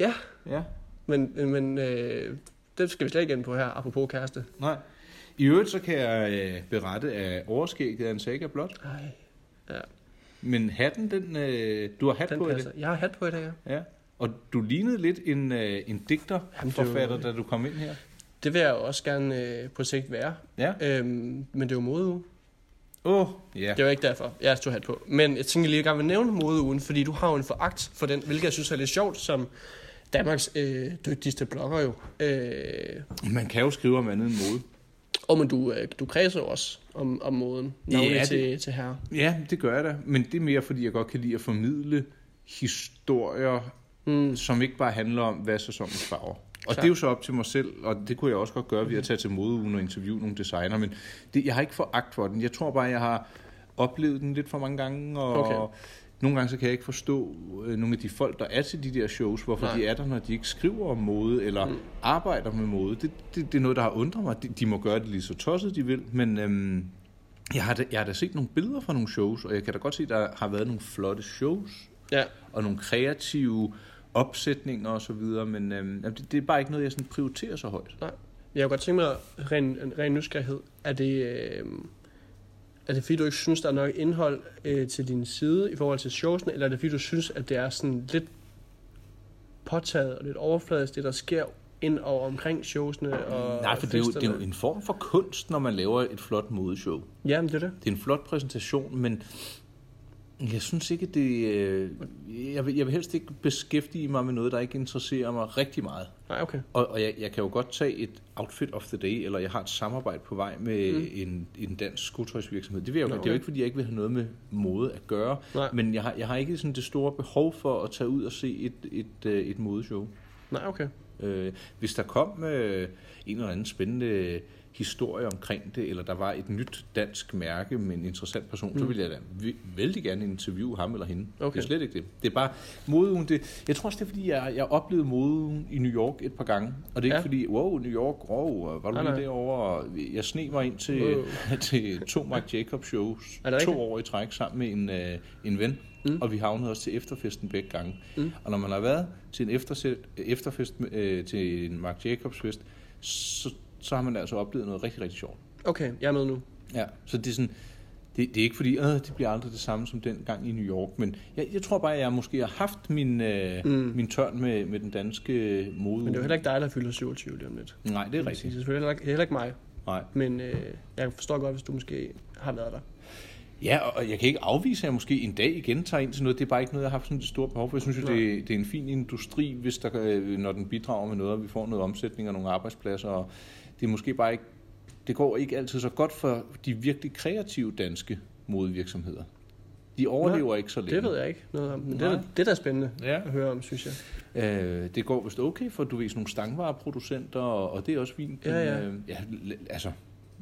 [SPEAKER 2] Ja.
[SPEAKER 1] Ja,
[SPEAKER 2] Men, men øh, det skal vi slet ikke ind på her, apropos kæreste.
[SPEAKER 1] nej. I øvrigt så kan jeg øh, berette, at overskægget er en saga blot.
[SPEAKER 2] Ej,
[SPEAKER 1] Men hatten, den, øh, du har hat
[SPEAKER 2] den
[SPEAKER 1] på i
[SPEAKER 2] passer. Jeg har hat på i dag, ja.
[SPEAKER 1] Ja, og du lignede lidt en, øh, en digter,
[SPEAKER 2] Jamen, det
[SPEAKER 1] forfatter,
[SPEAKER 2] var-
[SPEAKER 1] da du kom ind her.
[SPEAKER 2] Det vil jeg jo også gerne øh, på sigt være.
[SPEAKER 1] Ja.
[SPEAKER 2] Øhm, men det er jo modeuge.
[SPEAKER 1] Åh, oh, ja.
[SPEAKER 2] Det var ikke derfor, jeg tog hat på. Men jeg tænker lige, at jeg gerne vil nævne modeugen, fordi du har jo en foragt for den, hvilket jeg synes er lidt sjovt, som Danmarks øh, dygtigste blogger jo. Øh,
[SPEAKER 1] Man kan jo skrive om andet end mode.
[SPEAKER 2] og men du, øh, du kredser jo også om, om moden,
[SPEAKER 1] Ja,
[SPEAKER 2] navnlig
[SPEAKER 1] det-
[SPEAKER 2] ja, til, til herre.
[SPEAKER 1] Ja, det gør jeg da. Men det er mere, fordi jeg godt kan lide at formidle historier,
[SPEAKER 2] Mm.
[SPEAKER 1] som ikke bare handler om, hvad er sæsonens farver. Og
[SPEAKER 2] Klar.
[SPEAKER 1] det er jo så op til mig selv, og det kunne jeg også godt gøre ved at tage til modeugen og interviewe nogle designer, men det, jeg har ikke foragt for den. Jeg tror bare, jeg har oplevet den lidt for mange gange, og okay.
[SPEAKER 2] Okay.
[SPEAKER 1] nogle gange så kan jeg ikke forstå øh, nogle af de folk, der er til de der shows, hvorfor Nej.
[SPEAKER 2] Nej.
[SPEAKER 1] de er der, når de ikke skriver om mode eller mm. arbejder med mode. Det, det, det er noget, der har undret mig. De, de må gøre det lige så tosset, de vil, men øhm, jeg, har da, jeg har da set nogle billeder fra nogle shows, og jeg kan da godt se, der har været nogle flotte shows
[SPEAKER 2] Ja,
[SPEAKER 1] og nogle kreative opsætninger og så videre, men øhm, jamen, det, det er bare ikke noget, jeg sådan prioriterer så højt.
[SPEAKER 2] nej. Jeg kunne godt tænke mig, ren, ren nysgerrighed, er det, øh, er det fordi, du ikke synes, der er nok indhold øh, til din side i forhold til showsene, eller er det fordi, du synes, at det er sådan lidt påtaget og lidt overfladisk, det der sker ind og omkring showsene? Og
[SPEAKER 1] Nej, for det er, jo, det er jo
[SPEAKER 2] festerne?
[SPEAKER 1] en form for kunst, når man laver et flot modeshow.
[SPEAKER 2] Jamen, det er det.
[SPEAKER 1] Det er en flot præsentation, men jeg synes ikke, det... Øh, jeg, vil, jeg vil helst ikke beskæftige mig med noget, der ikke interesserer mig rigtig meget.
[SPEAKER 2] Nej, okay.
[SPEAKER 1] Og, og jeg, jeg kan jo godt tage et outfit of the day, eller jeg har et samarbejde på vej med mm. en, en dansk skotøjsvirksomhed. Det, vil jeg jo,
[SPEAKER 2] Nå,
[SPEAKER 1] godt. det er jo
[SPEAKER 2] okay.
[SPEAKER 1] ikke, fordi jeg ikke vil have noget med mode at gøre,
[SPEAKER 2] Nej.
[SPEAKER 1] men jeg har, jeg har ikke sådan det store behov for at tage ud og se et, et, øh, et modeshow.
[SPEAKER 2] Nej, okay.
[SPEAKER 1] Øh, hvis der kom øh, en eller anden spændende historie omkring det, eller der var et nyt dansk mærke med en interessant person, mm. så ville jeg da vi- vældig gerne interviewe ham eller hende.
[SPEAKER 2] Okay.
[SPEAKER 1] Det er slet ikke det. Det er bare modeugen. Det, jeg tror også, det er, fordi jeg, jeg oplevede modeugen i New York et par gange. Og det er ja.
[SPEAKER 2] Ja.
[SPEAKER 1] ikke fordi, wow, New York, wow, var du
[SPEAKER 2] Nej,
[SPEAKER 1] lige
[SPEAKER 2] nej.
[SPEAKER 1] derovre? Og Jeg sneg mig ind til,
[SPEAKER 2] Wow.
[SPEAKER 1] til to Mark Jacobs shows
[SPEAKER 2] Er det
[SPEAKER 1] to
[SPEAKER 2] rigtigt?
[SPEAKER 1] år i træk sammen med en, øh, en ven. Mm. Og vi havnede også til efterfesten begge gange. Mm. Og når man har været til en efterset, efterfest øh, til en Mark Jacobs fest, så så har man altså oplevet noget rigtig, rigtig sjovt.
[SPEAKER 2] Okay, jeg er med nu.
[SPEAKER 1] Ja, så det er sådan, det, det er ikke fordi, øh, det bliver aldrig det samme som den gang i New York, men jeg, jeg tror bare, at jeg måske har haft min, øh, mm. min tørn med, med den danske mode.
[SPEAKER 2] Men det er jo heller ikke dig, der fylder 27 lige om lidt.
[SPEAKER 1] Nej, det er
[SPEAKER 2] Det er
[SPEAKER 1] rigtigt.
[SPEAKER 2] selvfølgelig heller ikke, heller ikke mig.
[SPEAKER 1] Nej.
[SPEAKER 2] Men øh, jeg forstår godt, hvis du måske har været der.
[SPEAKER 1] Ja, og- og jeg kan ikke afvise, at jeg måske en dag igen tager ind til noget. Det er bare ikke noget, jeg har haft sådan et stort behov for. Jeg synes jo, det, det er en fin industri, hvis der, øh, når den bidrager med noget, og vi får noget omsætning og nogle arbejdspladser. Og det er måske bare ikke, det går ikke altid så godt for de virkelig kreative danske modevirksomheder. De overlever ikke så længe.
[SPEAKER 2] Det ved jeg ikke noget om, men det, er,
[SPEAKER 1] Nej.
[SPEAKER 2] det er da spændende
[SPEAKER 1] Ja.
[SPEAKER 2] at høre om, synes jeg.
[SPEAKER 1] Øh, det går vist okay for, du ved, sådan nogle stangvareproducenter, og, og det er også fint.
[SPEAKER 2] Ja, ja.
[SPEAKER 1] Øh, ja, l- altså,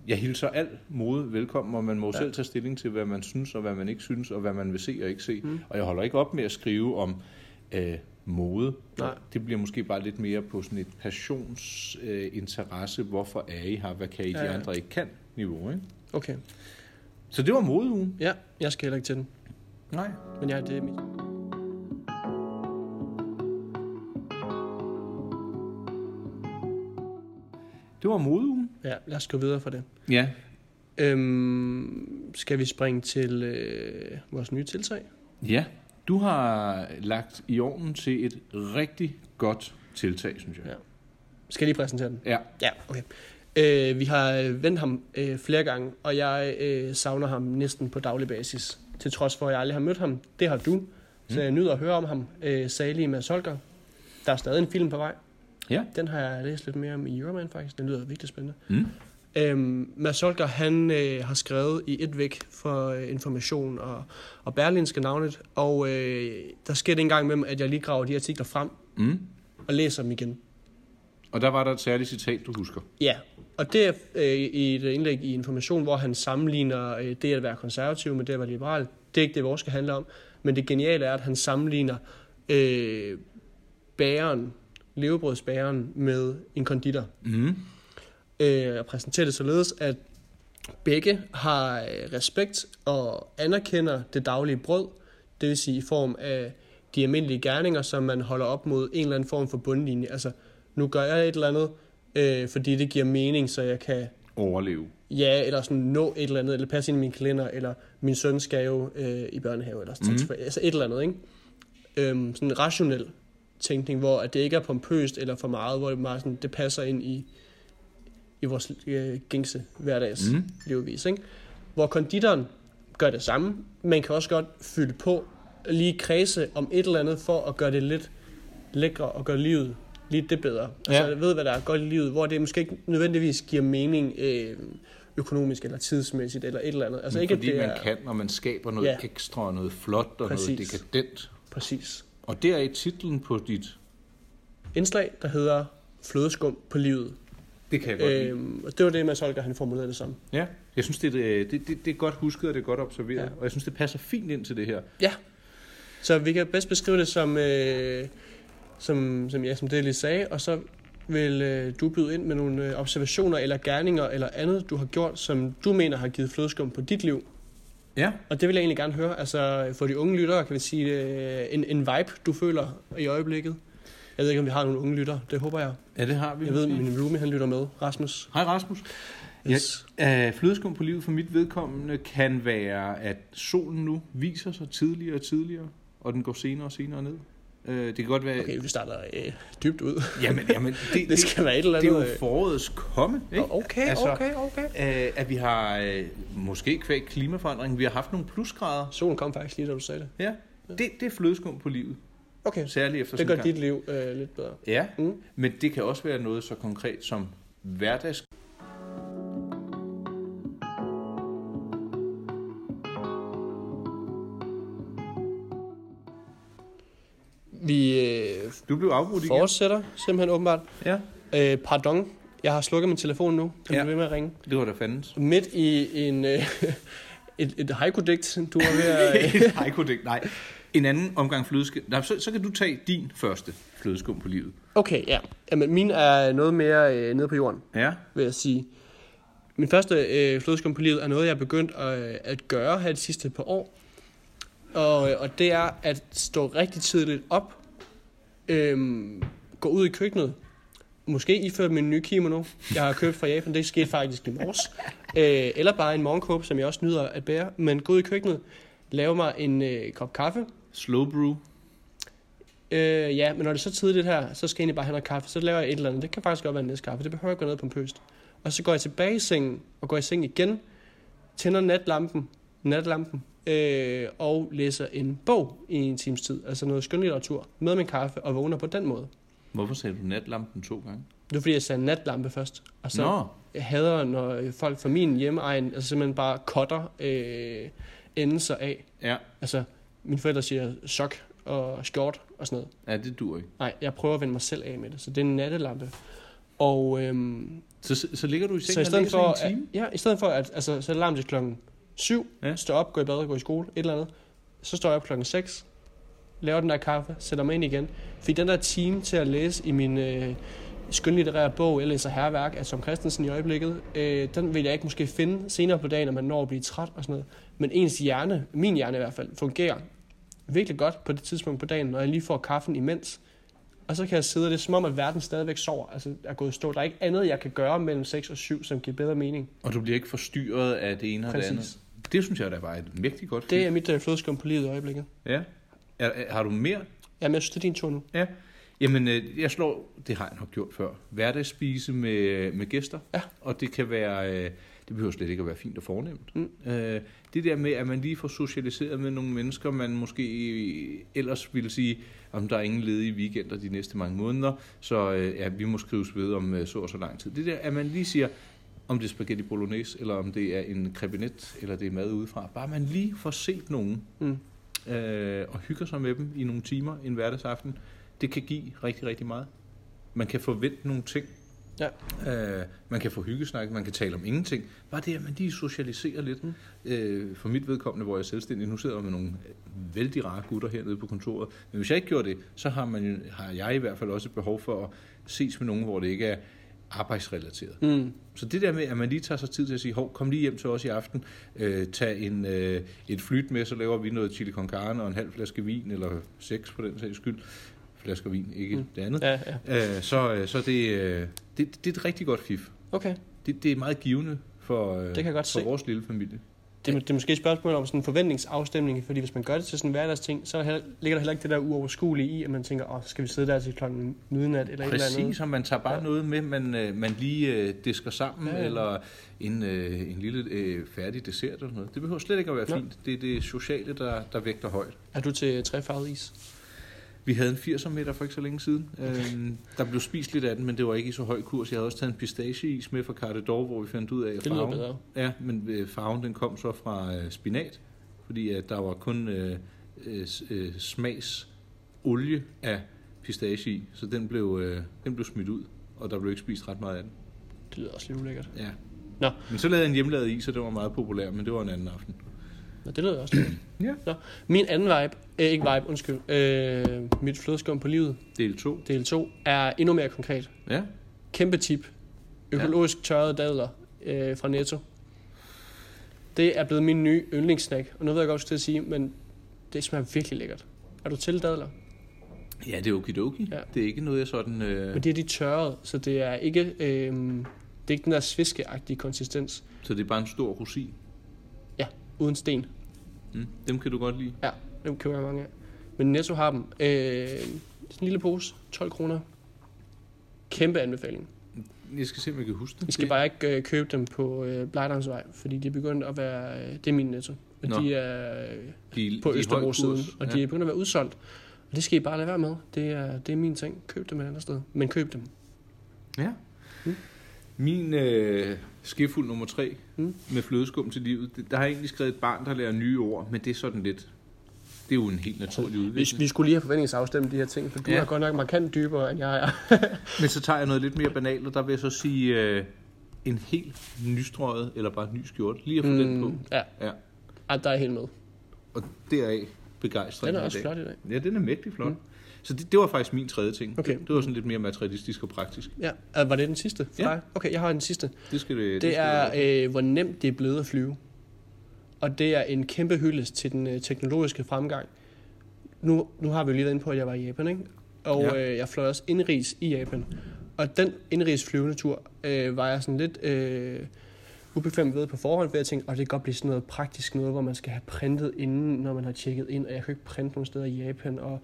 [SPEAKER 1] jeg hilser al mode velkommen, og man må ja. selv tage stilling til, hvad man synes, og hvad man ikke synes, og hvad man vil se og ikke se. Mm. Og jeg holder ikke op med at skrive om øh, mode.
[SPEAKER 2] Nej.
[SPEAKER 1] Det bliver måske bare lidt mere på sådan et passionsinteresse. Øh, interesse. Hvorfor er I her? Hvad kan I, de
[SPEAKER 2] Ja, ja.
[SPEAKER 1] andre ikke kan? Niveau, ikke?
[SPEAKER 2] Okay,
[SPEAKER 1] Så det var modeugen.
[SPEAKER 2] ja, jeg skal heller ikke til den.
[SPEAKER 1] Nej.
[SPEAKER 2] Men ja, det er mit.
[SPEAKER 1] Det var modeugen.
[SPEAKER 2] Ja, lad os gå videre fra det.
[SPEAKER 1] Ja.
[SPEAKER 2] Øhm, skal vi springe til øh, vores nye tiltag?
[SPEAKER 1] Ja. Du har lagt i ovnen til et rigtig godt tiltag, synes jeg.
[SPEAKER 2] Ja. Skal jeg lige præsentere den?
[SPEAKER 1] Ja,
[SPEAKER 2] Ja, okay. Øh, vi har øh, vendt ham øh, flere gange, og jeg øh, savner ham næsten på daglig basis. Til trods for, at jeg aldrig har mødt ham. Det har du. Så jeg nyder at høre om ham. Øh, Sally med Solker. Der er stadig en film på vej.
[SPEAKER 1] Ja.
[SPEAKER 2] Den har jeg læst lidt mere om i Euroman faktisk. Den lyder virkelig spændende.
[SPEAKER 1] Mm.
[SPEAKER 2] Øhm, Mads Holger, han øh, har skrevet i et væk for øh, information og, og berlinske navnet, og øh, der sker det en gang imellem, at jeg lige graver de artikler frem
[SPEAKER 1] Mm.
[SPEAKER 2] og læser dem igen.
[SPEAKER 1] Og der var der et særligt citat, du husker.
[SPEAKER 2] Ja, og det er øh, i et indlæg i Information, hvor han sammenligner øh, det at være konservativ med det at være liberal. Det er ikke det, vores skal handle om. Men det geniale er, at han sammenligner øh, bageren, levebrødsbageren, med en konditor.
[SPEAKER 1] Mm.
[SPEAKER 2] Øh, og præsenterer det således, at begge har øh, respekt og anerkender det daglige brød, det vil sige i form af de almindelige gerninger, som man holder op mod en eller anden form for bundlinje. Altså, nu gør jeg et eller andet, øh, fordi det giver mening, så jeg kan
[SPEAKER 1] Overleve.
[SPEAKER 2] ja, eller sådan nå et eller andet, eller passe ind i min kalender, eller min søn skal jo øh, i børnehave, eller sådan, mm. altså et eller andet, ikke? Øhm, sådan en rationel tænkning, hvor at det ikke er pompøst eller for meget, hvor det, meget sådan, det passer ind i, i vores øh, gængse hverdags
[SPEAKER 1] Mm.
[SPEAKER 2] mm. levevis, ikke? Hvor konditoren gør det samme, men kan også godt fylde på, lige kredse om et eller andet, for at gøre det lidt lækre og gøre livet lidt det bedre. Altså
[SPEAKER 1] Ja.
[SPEAKER 2] ja. ved, hvad der er godt i livet, hvor det måske ikke nødvendigvis giver mening øh, økonomisk eller tidsmæssigt eller et eller andet. Altså ikke,
[SPEAKER 1] Fordi
[SPEAKER 2] at det
[SPEAKER 1] man
[SPEAKER 2] er
[SPEAKER 1] kan, og man skaber noget
[SPEAKER 2] Ja.
[SPEAKER 1] ekstra, og noget flot, og noget
[SPEAKER 2] Præcis.
[SPEAKER 1] dekadent.
[SPEAKER 2] præcis.
[SPEAKER 1] Og der er i titlen på dit...
[SPEAKER 2] Indslag, der hedder flødeskum på livet.
[SPEAKER 1] Det kan jeg godt øh, lide.
[SPEAKER 2] Øhm, og det var det, Mads Holger, han formulerede det som.
[SPEAKER 1] Ja, jeg synes, det, er, øh, det, det, det er godt husket, og det er godt observeret. Ja.
[SPEAKER 2] Ja.
[SPEAKER 1] Og jeg synes, det passer fint ind til det her.
[SPEAKER 2] Ja. Så vi kan bedst beskrive det som, øh, som, som, ja, som det, jeg lige sagde, og så vil øh, du byde ind med nogle øh, observationer eller gerninger eller andet, du har gjort, som du mener har givet flødeskum på dit liv.
[SPEAKER 1] Ja.
[SPEAKER 2] Og det vil jeg egentlig gerne høre. Altså for de unge lyttere, kan vi sige, øh, en, en vibe, du føler i øjeblikket. Jeg ved ikke, om vi har nogle unge lyttere. Det håber jeg.
[SPEAKER 1] Ja, det har vi.
[SPEAKER 2] Jeg ved, min roomie, han lytter med. Rasmus.
[SPEAKER 1] Hej Rasmus.
[SPEAKER 2] Yes.
[SPEAKER 1] Uh, flødeskum på livet for mit vedkommende kan være, at solen nu viser sig tidligere og tidligere, og den går senere og senere ned. Uh, det kan godt være...
[SPEAKER 2] Okay, vi starter øh, dybt ud.
[SPEAKER 1] Jamen, jamen det,
[SPEAKER 2] Det skal være et eller
[SPEAKER 1] det er
[SPEAKER 2] andet.
[SPEAKER 1] jo forårets komme, ikke?
[SPEAKER 2] øh, Okay,
[SPEAKER 1] Altså,
[SPEAKER 2] okay, okay.
[SPEAKER 1] Øh, at vi har, øh, måske kvæg klimaforandring, vi har haft nogle plusgrader.
[SPEAKER 2] Solen kom faktisk lige, da du sagde det.
[SPEAKER 1] Ja, det, det er flødeskum på livet,
[SPEAKER 2] Okay,
[SPEAKER 1] særligt efter
[SPEAKER 2] det
[SPEAKER 1] sådan
[SPEAKER 2] gør
[SPEAKER 1] en
[SPEAKER 2] dit liv øh, lidt bedre.
[SPEAKER 1] gang. Ja,
[SPEAKER 2] Mm.
[SPEAKER 1] men det kan også være noget så konkret som hverdags.
[SPEAKER 2] Vi øh,
[SPEAKER 1] Du blev afbrudt igen.
[SPEAKER 2] fortsætter simpelthen åbenbart.
[SPEAKER 1] Ja,
[SPEAKER 2] Øh, pardon, jeg har slukket min telefon nu. Den
[SPEAKER 1] Ja.
[SPEAKER 2] ja. bliver ved med at ringe.
[SPEAKER 1] det var da fandens.
[SPEAKER 2] Midt i en, øh, et, et haiku-digt, du var ved at... Øh,
[SPEAKER 1] Nej, kunne det ikke. Nej. En anden omgang flødeskum. Nej, så, så kan du tage din første flødeskum på livet.
[SPEAKER 2] Okay, ja. Jamen, min er noget mere øh, nede på jorden,
[SPEAKER 1] Ja.
[SPEAKER 2] vil jeg sige. Min første øh, flødeskum på livet er noget, jeg er begyndt at, øh, at gøre her de sidste par år. Og, øh, og det er øhm, at stå rigtig tidligt op, øh, gå ud i køkkenet, måske iført min nye kimono, jeg har købt fra Japan. Det skete faktisk i morges. Øh, eller bare en morgenkåbe, som jeg også nyder at bære. Men gå ud i køkkenet, lave mig en øh, kop kaffe.
[SPEAKER 1] Slow brew.
[SPEAKER 2] Øh, ja, men når det er så tidligt her, så skal jeg egentlig bare have noget kaffe. Så laver jeg et eller andet. Det kan faktisk godt være en næste kaffe. Det behøver ikke gå ned pompøst. Og så går jeg tilbage i sengen, og går i seng igen. Tænder natlampen, natlampen øh, og læser en bog i en times tid. Altså noget skønlitteratur med min kaffe og vågner på den måde.
[SPEAKER 1] Hvorfor sagde du natlampen to gange?
[SPEAKER 2] Det er fordi, jeg sagde natlampe først. Og så
[SPEAKER 1] Nå,
[SPEAKER 2] jeg hader, når øh, folk fra min hjemmeegn altså simpelthen bare cutter øh, endelser af.
[SPEAKER 1] ja,
[SPEAKER 2] Altså, mine forældre siger sok og skjort og sådan noget.
[SPEAKER 1] ja det dur ikke.
[SPEAKER 2] Nej, jeg prøver at vende mig selv af med det, så det er en nattelampe. Og øhm,
[SPEAKER 1] Så, så, så ligger du i sengen
[SPEAKER 2] så i stedet for,
[SPEAKER 1] og læser i
[SPEAKER 2] at,
[SPEAKER 1] en time?
[SPEAKER 2] ja, i stedet for at, altså, så er alarm til klokken 7,
[SPEAKER 1] Ja.
[SPEAKER 2] ja. står op, går i bad, går i skole, et eller andet. Så står jeg op klokken 6, laver den der kaffe, sætter mig ind igen. Fordi den der time til at læse i min øh, skønlitterære bog, jeg læser herværk af Tom Christensen i øjeblikket, øh, den vil jeg ikke måske finde senere på dagen, når man når at blive træt og sådan noget. Men ens hjerne, min hjerne i hvert fald, fungerer virkelig godt på det tidspunkt på dagen, når jeg lige får kaffen imens. Og så kan jeg sidde, og det er som om, at verden stadigvæk sover. Altså, jeg er gået i stå. Der er ikke andet, jeg kan gøre mellem 6 og 7, som giver bedre mening.
[SPEAKER 1] Og du bliver ikke forstyrret af det ene og det
[SPEAKER 2] Præcis.
[SPEAKER 1] andet? Det synes jeg da var et mægtigt godt
[SPEAKER 2] Det er
[SPEAKER 1] fif.
[SPEAKER 2] mit øh, flødeskum på livet i øjeblikket.
[SPEAKER 1] Ja. Er, er, har du mere?
[SPEAKER 2] Jamen, jeg synes, det er din tur nu.
[SPEAKER 1] Ja. Jamen, øh, jeg slår, det har jeg nok gjort før, hverdagsspise med, med gæster.
[SPEAKER 2] Ja.
[SPEAKER 1] Og det kan være, øh, det behøver slet ikke at være fint og fornemt.
[SPEAKER 2] Mm.
[SPEAKER 1] Øh, det der med, at man lige får socialiseret med nogle mennesker, man måske ellers ville sige, om der er ingen ledige weekender de næste mange måneder, så øh, ja, vi må skrives ved om øh, så og så lang tid. Det der, at man lige siger, om det er spaghetti bolognese, eller om det er en krebinet, eller det er mad udefra. Bare man lige får set nogen,
[SPEAKER 2] Mm.
[SPEAKER 1] øh, og hygger sig med dem i nogle timer en hverdagsaften, det kan give rigtig, rigtig meget. Man kan forvente nogle ting.
[SPEAKER 2] Ja.
[SPEAKER 1] Øh, man kan få hyggesnak, man kan tale om ingenting. Bare det, at man lige socialiserer lidt.
[SPEAKER 2] Mm.
[SPEAKER 1] Øh, for mit vedkommende, hvor jeg er selvstændig, nu sidder jeg med nogle øh, vældig rare gutter hernede på kontoret. Men hvis jeg ikke gjorde det, så har, man, har jeg i hvert fald også et behov for at ses med nogen, hvor det ikke er arbejdsrelateret.
[SPEAKER 2] Mm.
[SPEAKER 1] Så det der med, at man lige tager sig tid til at sige, hov, kom lige hjem til os i aften, øh, tag en, øh, et flyt med, så laver vi noget chili con carne og en halv flaske vin, eller seks for den sags skyld. Flasker vin, ikke mm.
[SPEAKER 2] Mm.
[SPEAKER 1] det andet.
[SPEAKER 2] Ja, ja.
[SPEAKER 1] Ja. Øh, så øh, så det, øh, det, det er et rigtig godt fif.
[SPEAKER 2] Okay.
[SPEAKER 1] Det, det er meget givende for, øh,
[SPEAKER 2] Det kan jeg godt
[SPEAKER 1] for
[SPEAKER 2] se.
[SPEAKER 1] vores lille familie.
[SPEAKER 2] Det, er- det er måske et spørgsmål om sådan en forventningsafstemning, fordi hvis man gør det til sådan en hverdagsting, så er der heller, ligger der heller ikke det der uoverskuelige i, at man tænker, åh, skal vi sidde der til klokken midnat eller et eller andet?
[SPEAKER 1] Præcis, og man tager bare ja.
[SPEAKER 2] Ja.
[SPEAKER 1] noget med, man, øh, man lige øh, disker sammen, ja,
[SPEAKER 2] Ja,
[SPEAKER 1] ja.
[SPEAKER 2] ja.
[SPEAKER 1] eller en, øh, en lille øh, færdig dessert eller sådan noget. Det behøver slet ikke at være
[SPEAKER 2] Nå.
[SPEAKER 1] fint. Det er det sociale, der, der vægter højt.
[SPEAKER 2] Er du til trefarvet is?
[SPEAKER 1] Vi havde en 80'er meter for ikke så længe siden. Øhm, der blev spist lidt af den, men det var ikke i så høj kurs. Jeg havde også taget en pistacheis med fra Carte d'Or, hvor vi fandt ud af, at
[SPEAKER 2] Det lyder
[SPEAKER 1] farven,
[SPEAKER 2] bedre.
[SPEAKER 1] ja, men øh, farven den kom så fra øh, spinat, fordi at der var kun øh, øh, s- øh, smagsolie af pistache i, så den blev, øh, den blev smidt ud, og der blev ikke spist ret meget af den.
[SPEAKER 2] Det lyder også lidt ulækkert.
[SPEAKER 1] Ja.
[SPEAKER 2] Nå.
[SPEAKER 1] Men så lavede jeg en hjemmelavet is, og det var meget populær, men det var en anden aften.
[SPEAKER 2] Nå, det lyder også lidt.
[SPEAKER 1] Ja.
[SPEAKER 2] Nå, min anden vibe, øh, ikke vibe, undskyld, øh, mit flødeskum på livet,
[SPEAKER 1] Del 2.
[SPEAKER 2] del 2, er endnu mere konkret.
[SPEAKER 1] Ja.
[SPEAKER 2] Kæmpe tip. Økologisk tørrede dadler øh, fra Netto. Det er blevet min nye yndlingssnack. Og nu ved jeg godt, hvad jeg skal til at sige, men det smager virkelig lækkert. Er du til dadler?
[SPEAKER 1] ja, det er okidoki.
[SPEAKER 2] Ja.
[SPEAKER 1] Det er ikke noget, jeg sådan... Øh,
[SPEAKER 2] Men det er de tørrede, så det er ikke, øh, det er ikke den der sviskeagtige konsistens
[SPEAKER 1] så det er bare en stor rosin.
[SPEAKER 2] uden sten.
[SPEAKER 1] Mm. Dem kan du godt lide.
[SPEAKER 2] Ja, dem køber jeg mange af. Men Netto har dem. Øh, sådan en lille pose, 12 kroner. Kæmpe anbefaling.
[SPEAKER 1] Jeg skal se, om jeg kan huske det.
[SPEAKER 2] Vi skal bare ikke øh, købe dem på øh, Blejdomsvej, fordi de er begyndt at være... Øh, det er min netto. Og
[SPEAKER 1] Nå.
[SPEAKER 2] de er øh,
[SPEAKER 1] de,
[SPEAKER 2] på
[SPEAKER 1] de er høj kurs.
[SPEAKER 2] Østerbro-siden, og de
[SPEAKER 1] ja.
[SPEAKER 2] er begyndt at være udsolgt. Og det skal I bare lade være med. Det er, det er min ting. Køb dem et andet sted. Men køb dem.
[SPEAKER 1] ja.
[SPEAKER 2] Mm.
[SPEAKER 1] Min øh, skefuld nummer tre
[SPEAKER 2] Mm.
[SPEAKER 1] med flødeskum til livet, det, der har jeg egentlig skrevet et barn, der lærer nye ord, men det er sådan lidt... Det er jo en helt naturlig
[SPEAKER 2] Vi,
[SPEAKER 1] udvikling.
[SPEAKER 2] vi skulle lige have forventningsafstemt de her ting, for du
[SPEAKER 1] Ja.
[SPEAKER 2] ja. er godt nok markant dybere, end jeg er.
[SPEAKER 1] Men så tager jeg noget lidt mere banalt, og der vil jeg så sige øh, en helt nystrøget, eller bare en ny skjorte, lige at få mm. den på.
[SPEAKER 2] ja.
[SPEAKER 1] Ja.
[SPEAKER 2] Ej, der er helt med.
[SPEAKER 1] Og deraf begejstring
[SPEAKER 2] Den er
[SPEAKER 1] i
[SPEAKER 2] også
[SPEAKER 1] dag.
[SPEAKER 2] flot i dag.
[SPEAKER 1] Ja, den er mægtig flot. Mm.
[SPEAKER 2] Mm.
[SPEAKER 1] Så det, det var faktisk min tredje ting.
[SPEAKER 2] Okay.
[SPEAKER 1] Det var sådan lidt mere materialistisk og praktisk.
[SPEAKER 2] Ja. Ah, Var det den sidste for
[SPEAKER 1] Ja.
[SPEAKER 2] ja. dig? Okay, jeg har en sidste.
[SPEAKER 1] Det skal det,
[SPEAKER 2] Det
[SPEAKER 1] skal
[SPEAKER 2] er,
[SPEAKER 1] det
[SPEAKER 2] øh, hvor nemt det er blevet at flyve. Og det er en kæmpe hyldest til den øh, teknologiske fremgang. Nu, nu har vi jo lige været inde på, at jeg var i Japan, ikke? Og
[SPEAKER 1] Ja.
[SPEAKER 2] ja. øh, jeg fløj også indrigs i Japan. Og den indrigsflyvende tur øh, var jeg sådan lidt øh, ubekvem ved på forhånd, for jeg tænkte, at det kan godt blive sådan noget praktisk noget, hvor man skal have printet inden, når man har tjekket ind, og jeg kan ikke printe nogen steder i Japan, og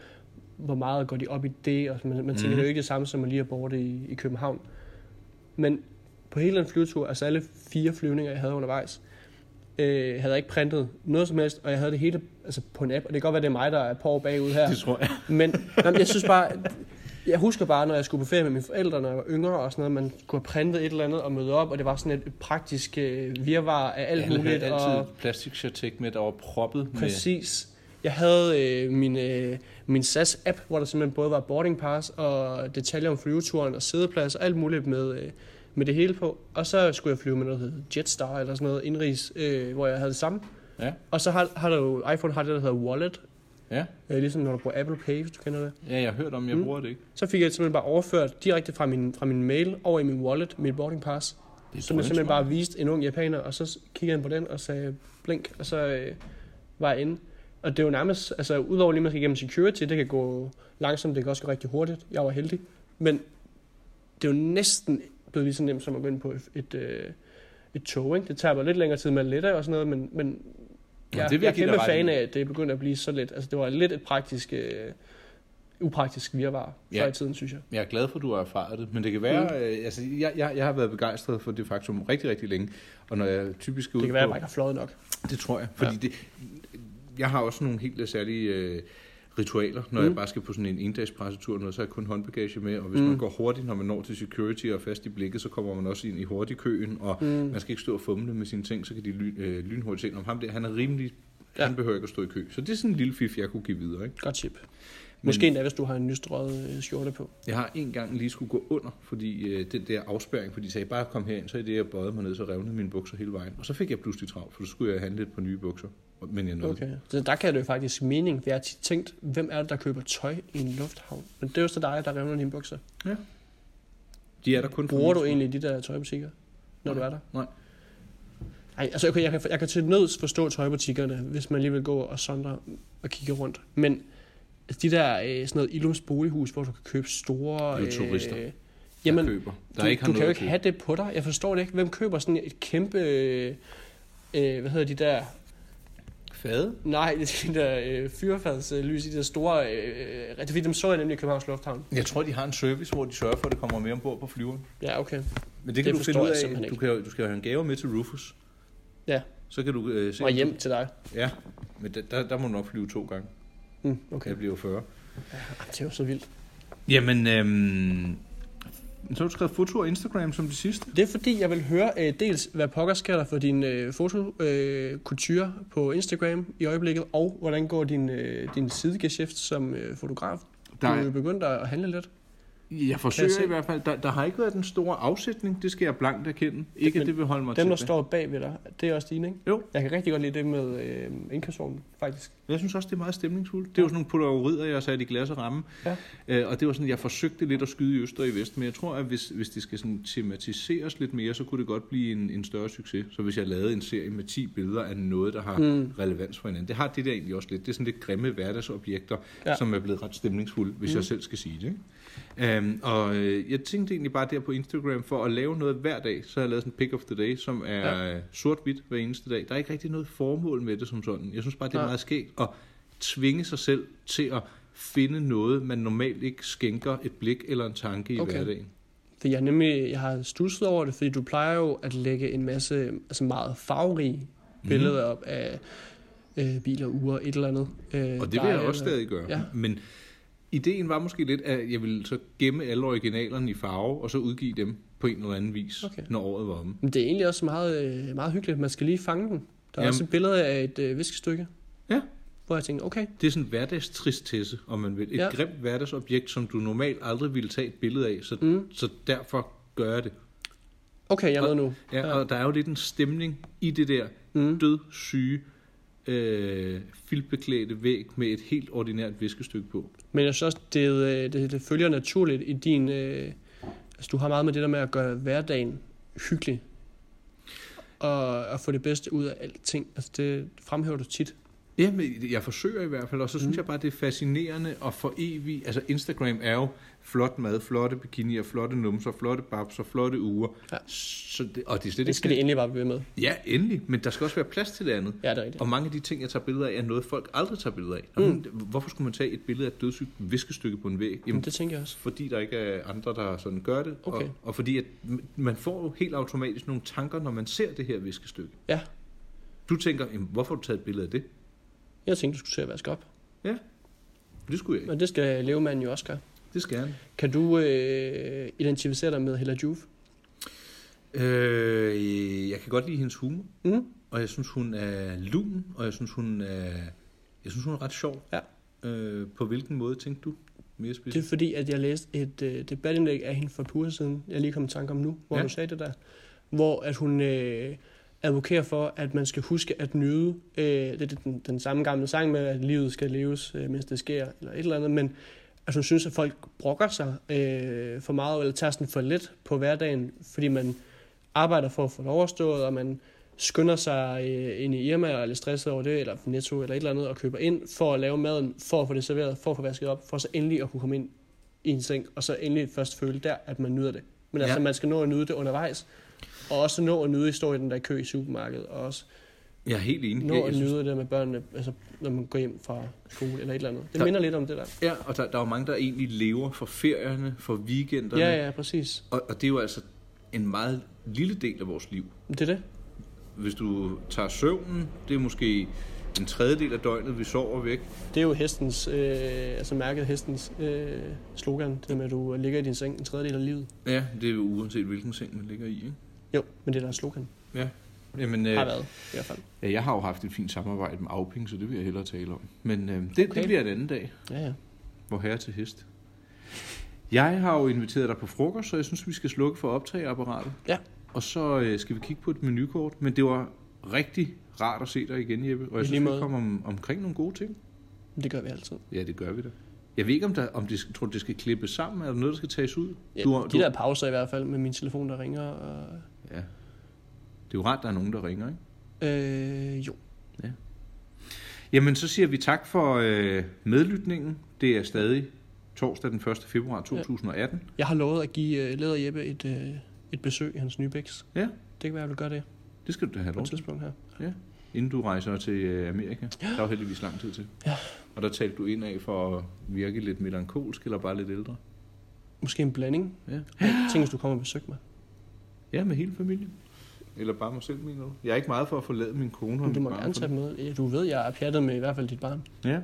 [SPEAKER 2] hvor meget går de op i det, og man, man
[SPEAKER 1] Mhm.
[SPEAKER 2] tænker, mm. det er jo ikke det samme, som man lige har bordet i, i København. Men på hele den flyvetur, altså alle fire flyvninger, jeg havde undervejs, øh, havde jeg ikke printet noget som helst, og jeg havde det hele altså, på en app, og det kan godt være, det er mig, der er på bagud her.
[SPEAKER 1] Det tror jeg.
[SPEAKER 2] Men jamen, jeg synes bare, jeg husker bare, når jeg skulle på ferie med mine forældre, når jeg var yngre og sådan noget, man kunne have printet et eller andet og møde op, og det var sådan et praktisk øh, virvar af alt
[SPEAKER 1] Alle
[SPEAKER 2] muligt.
[SPEAKER 1] havde altid
[SPEAKER 2] og,
[SPEAKER 1] et plastikshirtek med, der var proppet med...
[SPEAKER 2] Præcis. Jeg havde øh, min, øh, min SAS-app, hvor der simpelthen både var boarding pass og detaljer om flyveturen og sædeplads og alt muligt med, øh, med det hele på. Og så skulle jeg flyve med noget, der hed Jetstar eller sådan noget indrigs, øh, hvor jeg havde det samme.
[SPEAKER 1] Ja,
[SPEAKER 2] Og så har, har der jo, iPhone har det, der hedder Wallet,
[SPEAKER 1] ja.
[SPEAKER 2] øh, ligesom når du bruger Apple Pay, hvis du kender det.
[SPEAKER 1] Ja, jeg har hørt om, jeg
[SPEAKER 2] Mm.
[SPEAKER 1] bruger det ikke.
[SPEAKER 2] Så fik jeg simpelthen bare overført direkte fra min, fra min mail over i min wallet, mit boarding pass,
[SPEAKER 1] Det er
[SPEAKER 2] som jeg simpelthen bare viste en ung japaner, og så s- kiggede han på den og sagde blink, og så øh, var jeg inde. Og det er jo nærmest, altså udover lige man skal igennem security, det kan gå langsomt, det kan også gå rigtig hurtigt, jeg var heldig. Men det er jo næsten blevet lige så nemt som at gå ind på et, et, øh, et tog, ikke? Det tager bare lidt længere tid med letter og sådan noget, men, men
[SPEAKER 1] Ja,
[SPEAKER 2] jeg,
[SPEAKER 1] det vil jeg
[SPEAKER 2] jeg, jeg
[SPEAKER 1] give
[SPEAKER 2] er
[SPEAKER 1] dig
[SPEAKER 2] kæmpe
[SPEAKER 1] ret i.
[SPEAKER 2] fan af, at det er begyndt at blive så let. Altså det var lidt et praktisk, øh, upraktisk virvar
[SPEAKER 1] Ja.
[SPEAKER 2] før i tiden, synes jeg.
[SPEAKER 1] Jeg er glad for, at du har erfaret det, men det kan
[SPEAKER 2] Mm.
[SPEAKER 1] være... Øh, altså, jeg, jeg, jeg har været begejstret for det faktum rigtig, rigtig længe, og når jeg typisk er
[SPEAKER 2] Det
[SPEAKER 1] ude
[SPEAKER 2] kan være, at
[SPEAKER 1] på...
[SPEAKER 2] jeg ikke har fløjet nok.
[SPEAKER 1] Det tror jeg, fordi ja. det, jeg har også nogle helt særlige øh, ritualer, når mm. jeg bare skal på sådan en endags pressetur, eller noget, så har jeg kun håndbagage med, og hvis mm. man går hurtigt, når man når til security og er fast i blikket, så kommer man også ind i hurtigkøen, og mm. man skal ikke stå og fumle med sine ting, så kan de lyn, øh, lynhurtigt se, om ham der, han er rimelig, ja.
[SPEAKER 2] Ja.
[SPEAKER 1] han behøver ikke at stå i kø. Så det er sådan en lille fif, jeg kunne give videre. Ikke?
[SPEAKER 2] Godt tip. Måske endda, hvis du har en nystrøget øh, skjorte på.
[SPEAKER 1] Jeg har en gang lige skulle gå under, fordi øh, den der afspæring, fordi de sagde, bare kom herind, så i det, jeg bøjede mig ned, så revnede mine bukser hele vejen. Og så fik jeg pludselig travlt, for så skulle jeg handle et par nye bukser. Men jeg nåede
[SPEAKER 2] Okay. Så der kan det jo faktisk mening. Det er tit tænkt, hvem er det, der køber tøj i en lufthavn? Men det er jo så dig, der revner dine bukser.
[SPEAKER 1] Ja. De er der kun for
[SPEAKER 2] Bruger du
[SPEAKER 1] min
[SPEAKER 2] egentlig de der tøjbutikker, når du er der?
[SPEAKER 1] Nej.
[SPEAKER 2] Nej, altså okay, jeg kan, jeg kan til nøds forstå tøjbutikkerne, hvis man lige vil gå og sondre og kigge rundt. Men de der øh, sådan noget Illums bolighus, hvor du kan købe store... øh,
[SPEAKER 1] Det er jo turister,
[SPEAKER 2] jamen,
[SPEAKER 1] der køber. Der
[SPEAKER 2] du,
[SPEAKER 1] ikke har
[SPEAKER 2] du kan
[SPEAKER 1] noget
[SPEAKER 2] jo
[SPEAKER 1] at
[SPEAKER 2] ikke
[SPEAKER 1] købe.
[SPEAKER 2] have det på dig. Jeg forstår det ikke. Hvem køber sådan et kæmpe... Øh, øh, hvad hedder de der...
[SPEAKER 1] fade.
[SPEAKER 2] Nej, det er de der øh, fyrefadslys i de der store... Øh, øh, fordi dem så jeg nemlig i Københavns Lufthavn.
[SPEAKER 1] Jeg tror, de har en service, hvor de sørger for, at det kommer mere ombord på flyveren.
[SPEAKER 2] Ja, okay.
[SPEAKER 1] Men det kan
[SPEAKER 2] Det
[SPEAKER 1] du finde
[SPEAKER 2] forstår
[SPEAKER 1] ud
[SPEAKER 2] jeg simpelthen
[SPEAKER 1] af.
[SPEAKER 2] ikke.
[SPEAKER 1] Du, kan, jo- du skal jo have en gave med til Rufus.
[SPEAKER 2] Ja,
[SPEAKER 1] Så kan du øh, se...
[SPEAKER 2] og hjem til dig.
[SPEAKER 1] Ja, men der, der, der må du nok flyve to gange.
[SPEAKER 2] Mm,
[SPEAKER 1] Okay.
[SPEAKER 2] okay.
[SPEAKER 1] Jeg bliver jo 40.
[SPEAKER 2] Ej, Det er jo så vildt.
[SPEAKER 1] Jamen, øhm, så har du skrevet foto og Instagram som det sidste.
[SPEAKER 2] Det er fordi, jeg vil høre øh, dels, hvad pokker sker der for din øh, fotokultur på Instagram i øjeblikket, og hvordan går din, øh, din sidegeschæft som øh, fotograf? Du
[SPEAKER 1] Der
[SPEAKER 2] er
[SPEAKER 1] er-
[SPEAKER 2] jo begyndt at handle lidt.
[SPEAKER 1] Jeg
[SPEAKER 2] Kan jeg
[SPEAKER 1] forsøger
[SPEAKER 2] se?
[SPEAKER 1] i hvert fald. Der, der har ikke været den store afsætning. Det skal jeg blankt erkende. Ikke, at
[SPEAKER 2] Men
[SPEAKER 1] det vil holde mig
[SPEAKER 2] Dem, der
[SPEAKER 1] tilbage.
[SPEAKER 2] står bag ved dig, det er også dine, ikke?
[SPEAKER 1] Jo.
[SPEAKER 2] Jeg kan rigtig godt lide det med øh, indkøbsvognen, faktisk.
[SPEAKER 1] Jeg synes også, det er meget stemningsfuldt. Det er jo sådan nogle polarider, jeg har sat i glas og ramme.
[SPEAKER 2] Ja.
[SPEAKER 1] Øh, og det var sådan, jeg forsøgte lidt at skyde i øst og i vest, men jeg tror, at hvis, hvis det skal sådan tematiseres lidt mere, så kunne det godt blive en, en større succes. Så hvis jeg lavede en serie med 10 billeder af noget, der har mm. relevans for hinanden. Det har det der egentlig også lidt. Det er sådan lidt grimme hverdagsobjekter, ja.
[SPEAKER 2] Ja.
[SPEAKER 1] som er blevet ret stemningsfulde, hvis mm. jeg selv skal sige det. Ikke? Øhm, og øh, jeg tænkte egentlig bare der på Instagram, for at lave noget hver dag, så har jeg lavet sådan en pick of the day, som er ja. sort-hvidt hver eneste dag. Der er ikke rigtig noget formål med det som sådan. Jeg synes bare, det er
[SPEAKER 2] Nej.
[SPEAKER 1] meget skægt at tvinge sig selv til at finde noget, man normalt ikke skænker et blik eller en tanke i okay.
[SPEAKER 2] Okay.
[SPEAKER 1] hverdagen.
[SPEAKER 2] For jeg, har nemlig, jeg har stusset over det, fordi du plejer jo at lægge en masse altså meget farverige billeder op af øh, biler, ure, et eller andet. Øh,
[SPEAKER 1] Mhm. Og det vil jeg også stadig gøre. Ja.
[SPEAKER 2] Ja.
[SPEAKER 1] Men ideen var måske lidt, at jeg ville så gemme alle originalerne i farve, og så udgive dem på en eller anden vis, okay.
[SPEAKER 2] Okay.
[SPEAKER 1] når året var omme.
[SPEAKER 2] Men det er egentlig også meget, øh, meget hyggeligt. Man skal lige fange den. Der er
[SPEAKER 1] Jamen.
[SPEAKER 2] også et billede af et øh, viskestykke,
[SPEAKER 1] Ja,
[SPEAKER 2] hvor jeg tænker, okay,
[SPEAKER 1] det er sådan en hverdagstristesse, om man vil. Et ja.
[SPEAKER 2] Ja.
[SPEAKER 1] grimt hverdagsobjekt, som du normalt aldrig ville tage et billede af, så, mm. så derfor gør jeg det.
[SPEAKER 2] okay, jeg er med nu.
[SPEAKER 1] Ja, og der er jo lidt en stemning i det der mm. dødssyge, øh, filtbeklædte væg med et helt ordinært viskestykke på.
[SPEAKER 2] Men jeg synes også, det, øh, det, det følger naturligt i din... Øh, altså, du har meget med det der med at gøre hverdagen hyggelig. Og at få det bedste ud af alting. Altså, det fremhæver du tit.
[SPEAKER 1] Ja, men jeg forsøger i hvert fald, og så synes mm. jeg bare, det er fascinerende at for evigt... Altså, Instagram er jo flot mad, flotte bikinier, flotte numser, flotte babser, flotte uger.
[SPEAKER 2] Ja.
[SPEAKER 1] Så det, og det er slet
[SPEAKER 2] Det
[SPEAKER 1] ikke...
[SPEAKER 2] skal det endelig bare blive ved med.
[SPEAKER 1] Ja, endelig, men der skal også være plads til det andet.
[SPEAKER 2] Ja, det er rigtigt.
[SPEAKER 1] Og mange af de ting, jeg tager billeder af, er noget, folk aldrig tager billeder af. Mm. Hvorfor skulle man tage et billede af et dødssygt viskestykke på en væg?
[SPEAKER 2] Jamen, det tænker jeg også.
[SPEAKER 1] fordi der ikke er andre, der sådan gør det.
[SPEAKER 2] Okay.
[SPEAKER 1] Og, og fordi at m- man får jo helt automatisk nogle tanker, når man ser det her viskestykke.
[SPEAKER 2] Ja,
[SPEAKER 1] Du tænker, jamen, hvorfor har du taget et billede af det?
[SPEAKER 2] jeg tænkte, du skulle til at vaske op.
[SPEAKER 1] Ja, det skulle jeg ikke.
[SPEAKER 2] Men det skal levemanden jo også gøre.
[SPEAKER 1] Det skal han.
[SPEAKER 2] Kan du øh, identificere dig med Hella Juve?
[SPEAKER 1] Øh, jeg kan godt lide hendes humor,
[SPEAKER 2] Mm.
[SPEAKER 1] og jeg synes, hun er lun, og jeg synes, hun er, jeg synes, hun er ret sjov.
[SPEAKER 2] Ja.
[SPEAKER 1] Øh, på hvilken måde tænkte du mere specifikt?
[SPEAKER 2] Det er fordi, at jeg læste et øh, debatindlæg af hende for et par uger siden, jeg lige kom i tanke om nu, hvor ja.
[SPEAKER 1] Ja.
[SPEAKER 2] hun sagde det der, hvor at hun øh, advokerer for, at man skal huske at nyde, øh, det er den, den samme gamle sang med, at livet skal leves, øh, mens det sker, eller et eller andet, men at hun synes, at folk brokker sig øh, for meget, eller tager sådan for let på hverdagen, fordi man arbejder for at få det overstået, og man skynder sig øh, ind i Irma og er lidt stresset over det, eller Netto eller et eller andet, og køber ind for at lave maden, for at få det serveret, for at få vasket op, for så endelig at kunne komme ind i en seng, og så endelig først føle der, at man nyder det. Men altså,
[SPEAKER 1] Ja.
[SPEAKER 2] man skal nå at nyde det undervejs, og også nå at nyde historien, den der kø i supermarkedet, og også
[SPEAKER 1] Jeg er helt enig.
[SPEAKER 2] nå
[SPEAKER 1] jeg,
[SPEAKER 2] at
[SPEAKER 1] jeg synes,
[SPEAKER 2] nyde det med børnene, altså når man går hjem fra skole eller et eller andet. Det
[SPEAKER 1] Der-
[SPEAKER 2] minder lidt om det der.
[SPEAKER 1] ja, og der, der er jo mange, der egentlig lever for ferierne, for weekenderne.
[SPEAKER 2] Ja, ja, præcis.
[SPEAKER 1] Og, og det er jo altså en meget lille del af vores liv.
[SPEAKER 2] Det er det.
[SPEAKER 1] Hvis du tager søvnen, det er måske en tredjedel af døgnet, vi sover væk.
[SPEAKER 2] Det er jo hestens, øh, altså mærket hestens øh, slogan, det der med, at du ligger i din seng en tredjedel af livet.
[SPEAKER 1] Ja, det er jo uanset hvilken seng man ligger i, ikke?
[SPEAKER 2] Jo, men det er deres slogan.
[SPEAKER 1] Ja. Jamen,
[SPEAKER 2] Har
[SPEAKER 1] øh,
[SPEAKER 2] været, i hvert fald.
[SPEAKER 1] ja, jeg har jo haft et fint samarbejde med Auping, så det vil jeg hellere tale om. Men øh, det,
[SPEAKER 2] Okay.
[SPEAKER 1] det bliver en anden dag,
[SPEAKER 2] Ja, ja.
[SPEAKER 1] hvor herre til hest. Jeg har jo inviteret dig på frokost, så jeg synes, vi skal slukke for optageapparatet.
[SPEAKER 2] Ja.
[SPEAKER 1] Og så øh, skal vi kigge på et menukort, men det var rigtig rart at se dig igen, Jeppe. Og
[SPEAKER 2] I
[SPEAKER 1] jeg
[SPEAKER 2] lige
[SPEAKER 1] synes,
[SPEAKER 2] måde.
[SPEAKER 1] vi kom om, omkring nogle gode ting.
[SPEAKER 2] Men Det gør vi altid.
[SPEAKER 1] Ja, det gør vi da. Jeg ved ikke, om, der, om det, tror du, det skal klippes sammen? Er der noget, der skal tages ud?
[SPEAKER 2] Ja,
[SPEAKER 1] du, har-
[SPEAKER 2] de der pauser i hvert fald med min telefon, der ringer. Og,
[SPEAKER 1] Ja. Det er jo rart, der er nogen, der ringer, ikke?
[SPEAKER 2] øh, jo,
[SPEAKER 1] Jamen, så siger vi tak for øh, medlytningen. Det er stadig torsdag den 1. februar 2018.
[SPEAKER 2] jeg har lovet at give uh, Leder Jeppe et, uh, et besøg i hans nye bæks.
[SPEAKER 1] Ja. ja,
[SPEAKER 2] Det kan være, at jeg vil gøre det
[SPEAKER 1] det skal du da have
[SPEAKER 2] på
[SPEAKER 1] lov
[SPEAKER 2] et
[SPEAKER 1] til,
[SPEAKER 2] tidspunkt her.
[SPEAKER 1] inden du rejser til øh, Amerika. Der er jo heldigvis lang tid til.
[SPEAKER 2] Ja.
[SPEAKER 1] Og der talte du ind af for at virke lidt melankolsk eller bare lidt ældre.
[SPEAKER 2] Måske en blanding.
[SPEAKER 1] Ja.
[SPEAKER 2] Tænk, hvis du kommer og besøger mig.
[SPEAKER 1] Ja, med hele familien. Eller bare mig selv, mener du? Jeg er ikke meget for at forlade min kone og
[SPEAKER 2] Men du
[SPEAKER 1] mit
[SPEAKER 2] må
[SPEAKER 1] barn.
[SPEAKER 2] gerne tage med. Ja, Du ved, jeg er pjattet med i hvert fald dit barn.
[SPEAKER 1] Ja,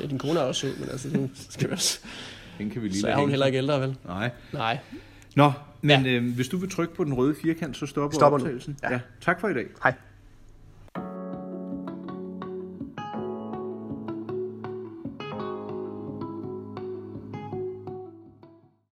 [SPEAKER 2] Ja, din kone er også sød, men altså, det skal vi også.
[SPEAKER 1] den kan vi lige
[SPEAKER 2] Så
[SPEAKER 1] lade
[SPEAKER 2] er hun
[SPEAKER 1] hænge.
[SPEAKER 2] heller ikke ældre, vel?
[SPEAKER 1] Nej.
[SPEAKER 2] Nej.
[SPEAKER 1] Nå, men ja. øh, hvis du vil trykke på den røde firkant, så stopper,
[SPEAKER 2] Stopper nu.
[SPEAKER 1] optagelsen.
[SPEAKER 2] Ja.
[SPEAKER 1] Ja. Tak for i dag.
[SPEAKER 2] Hej.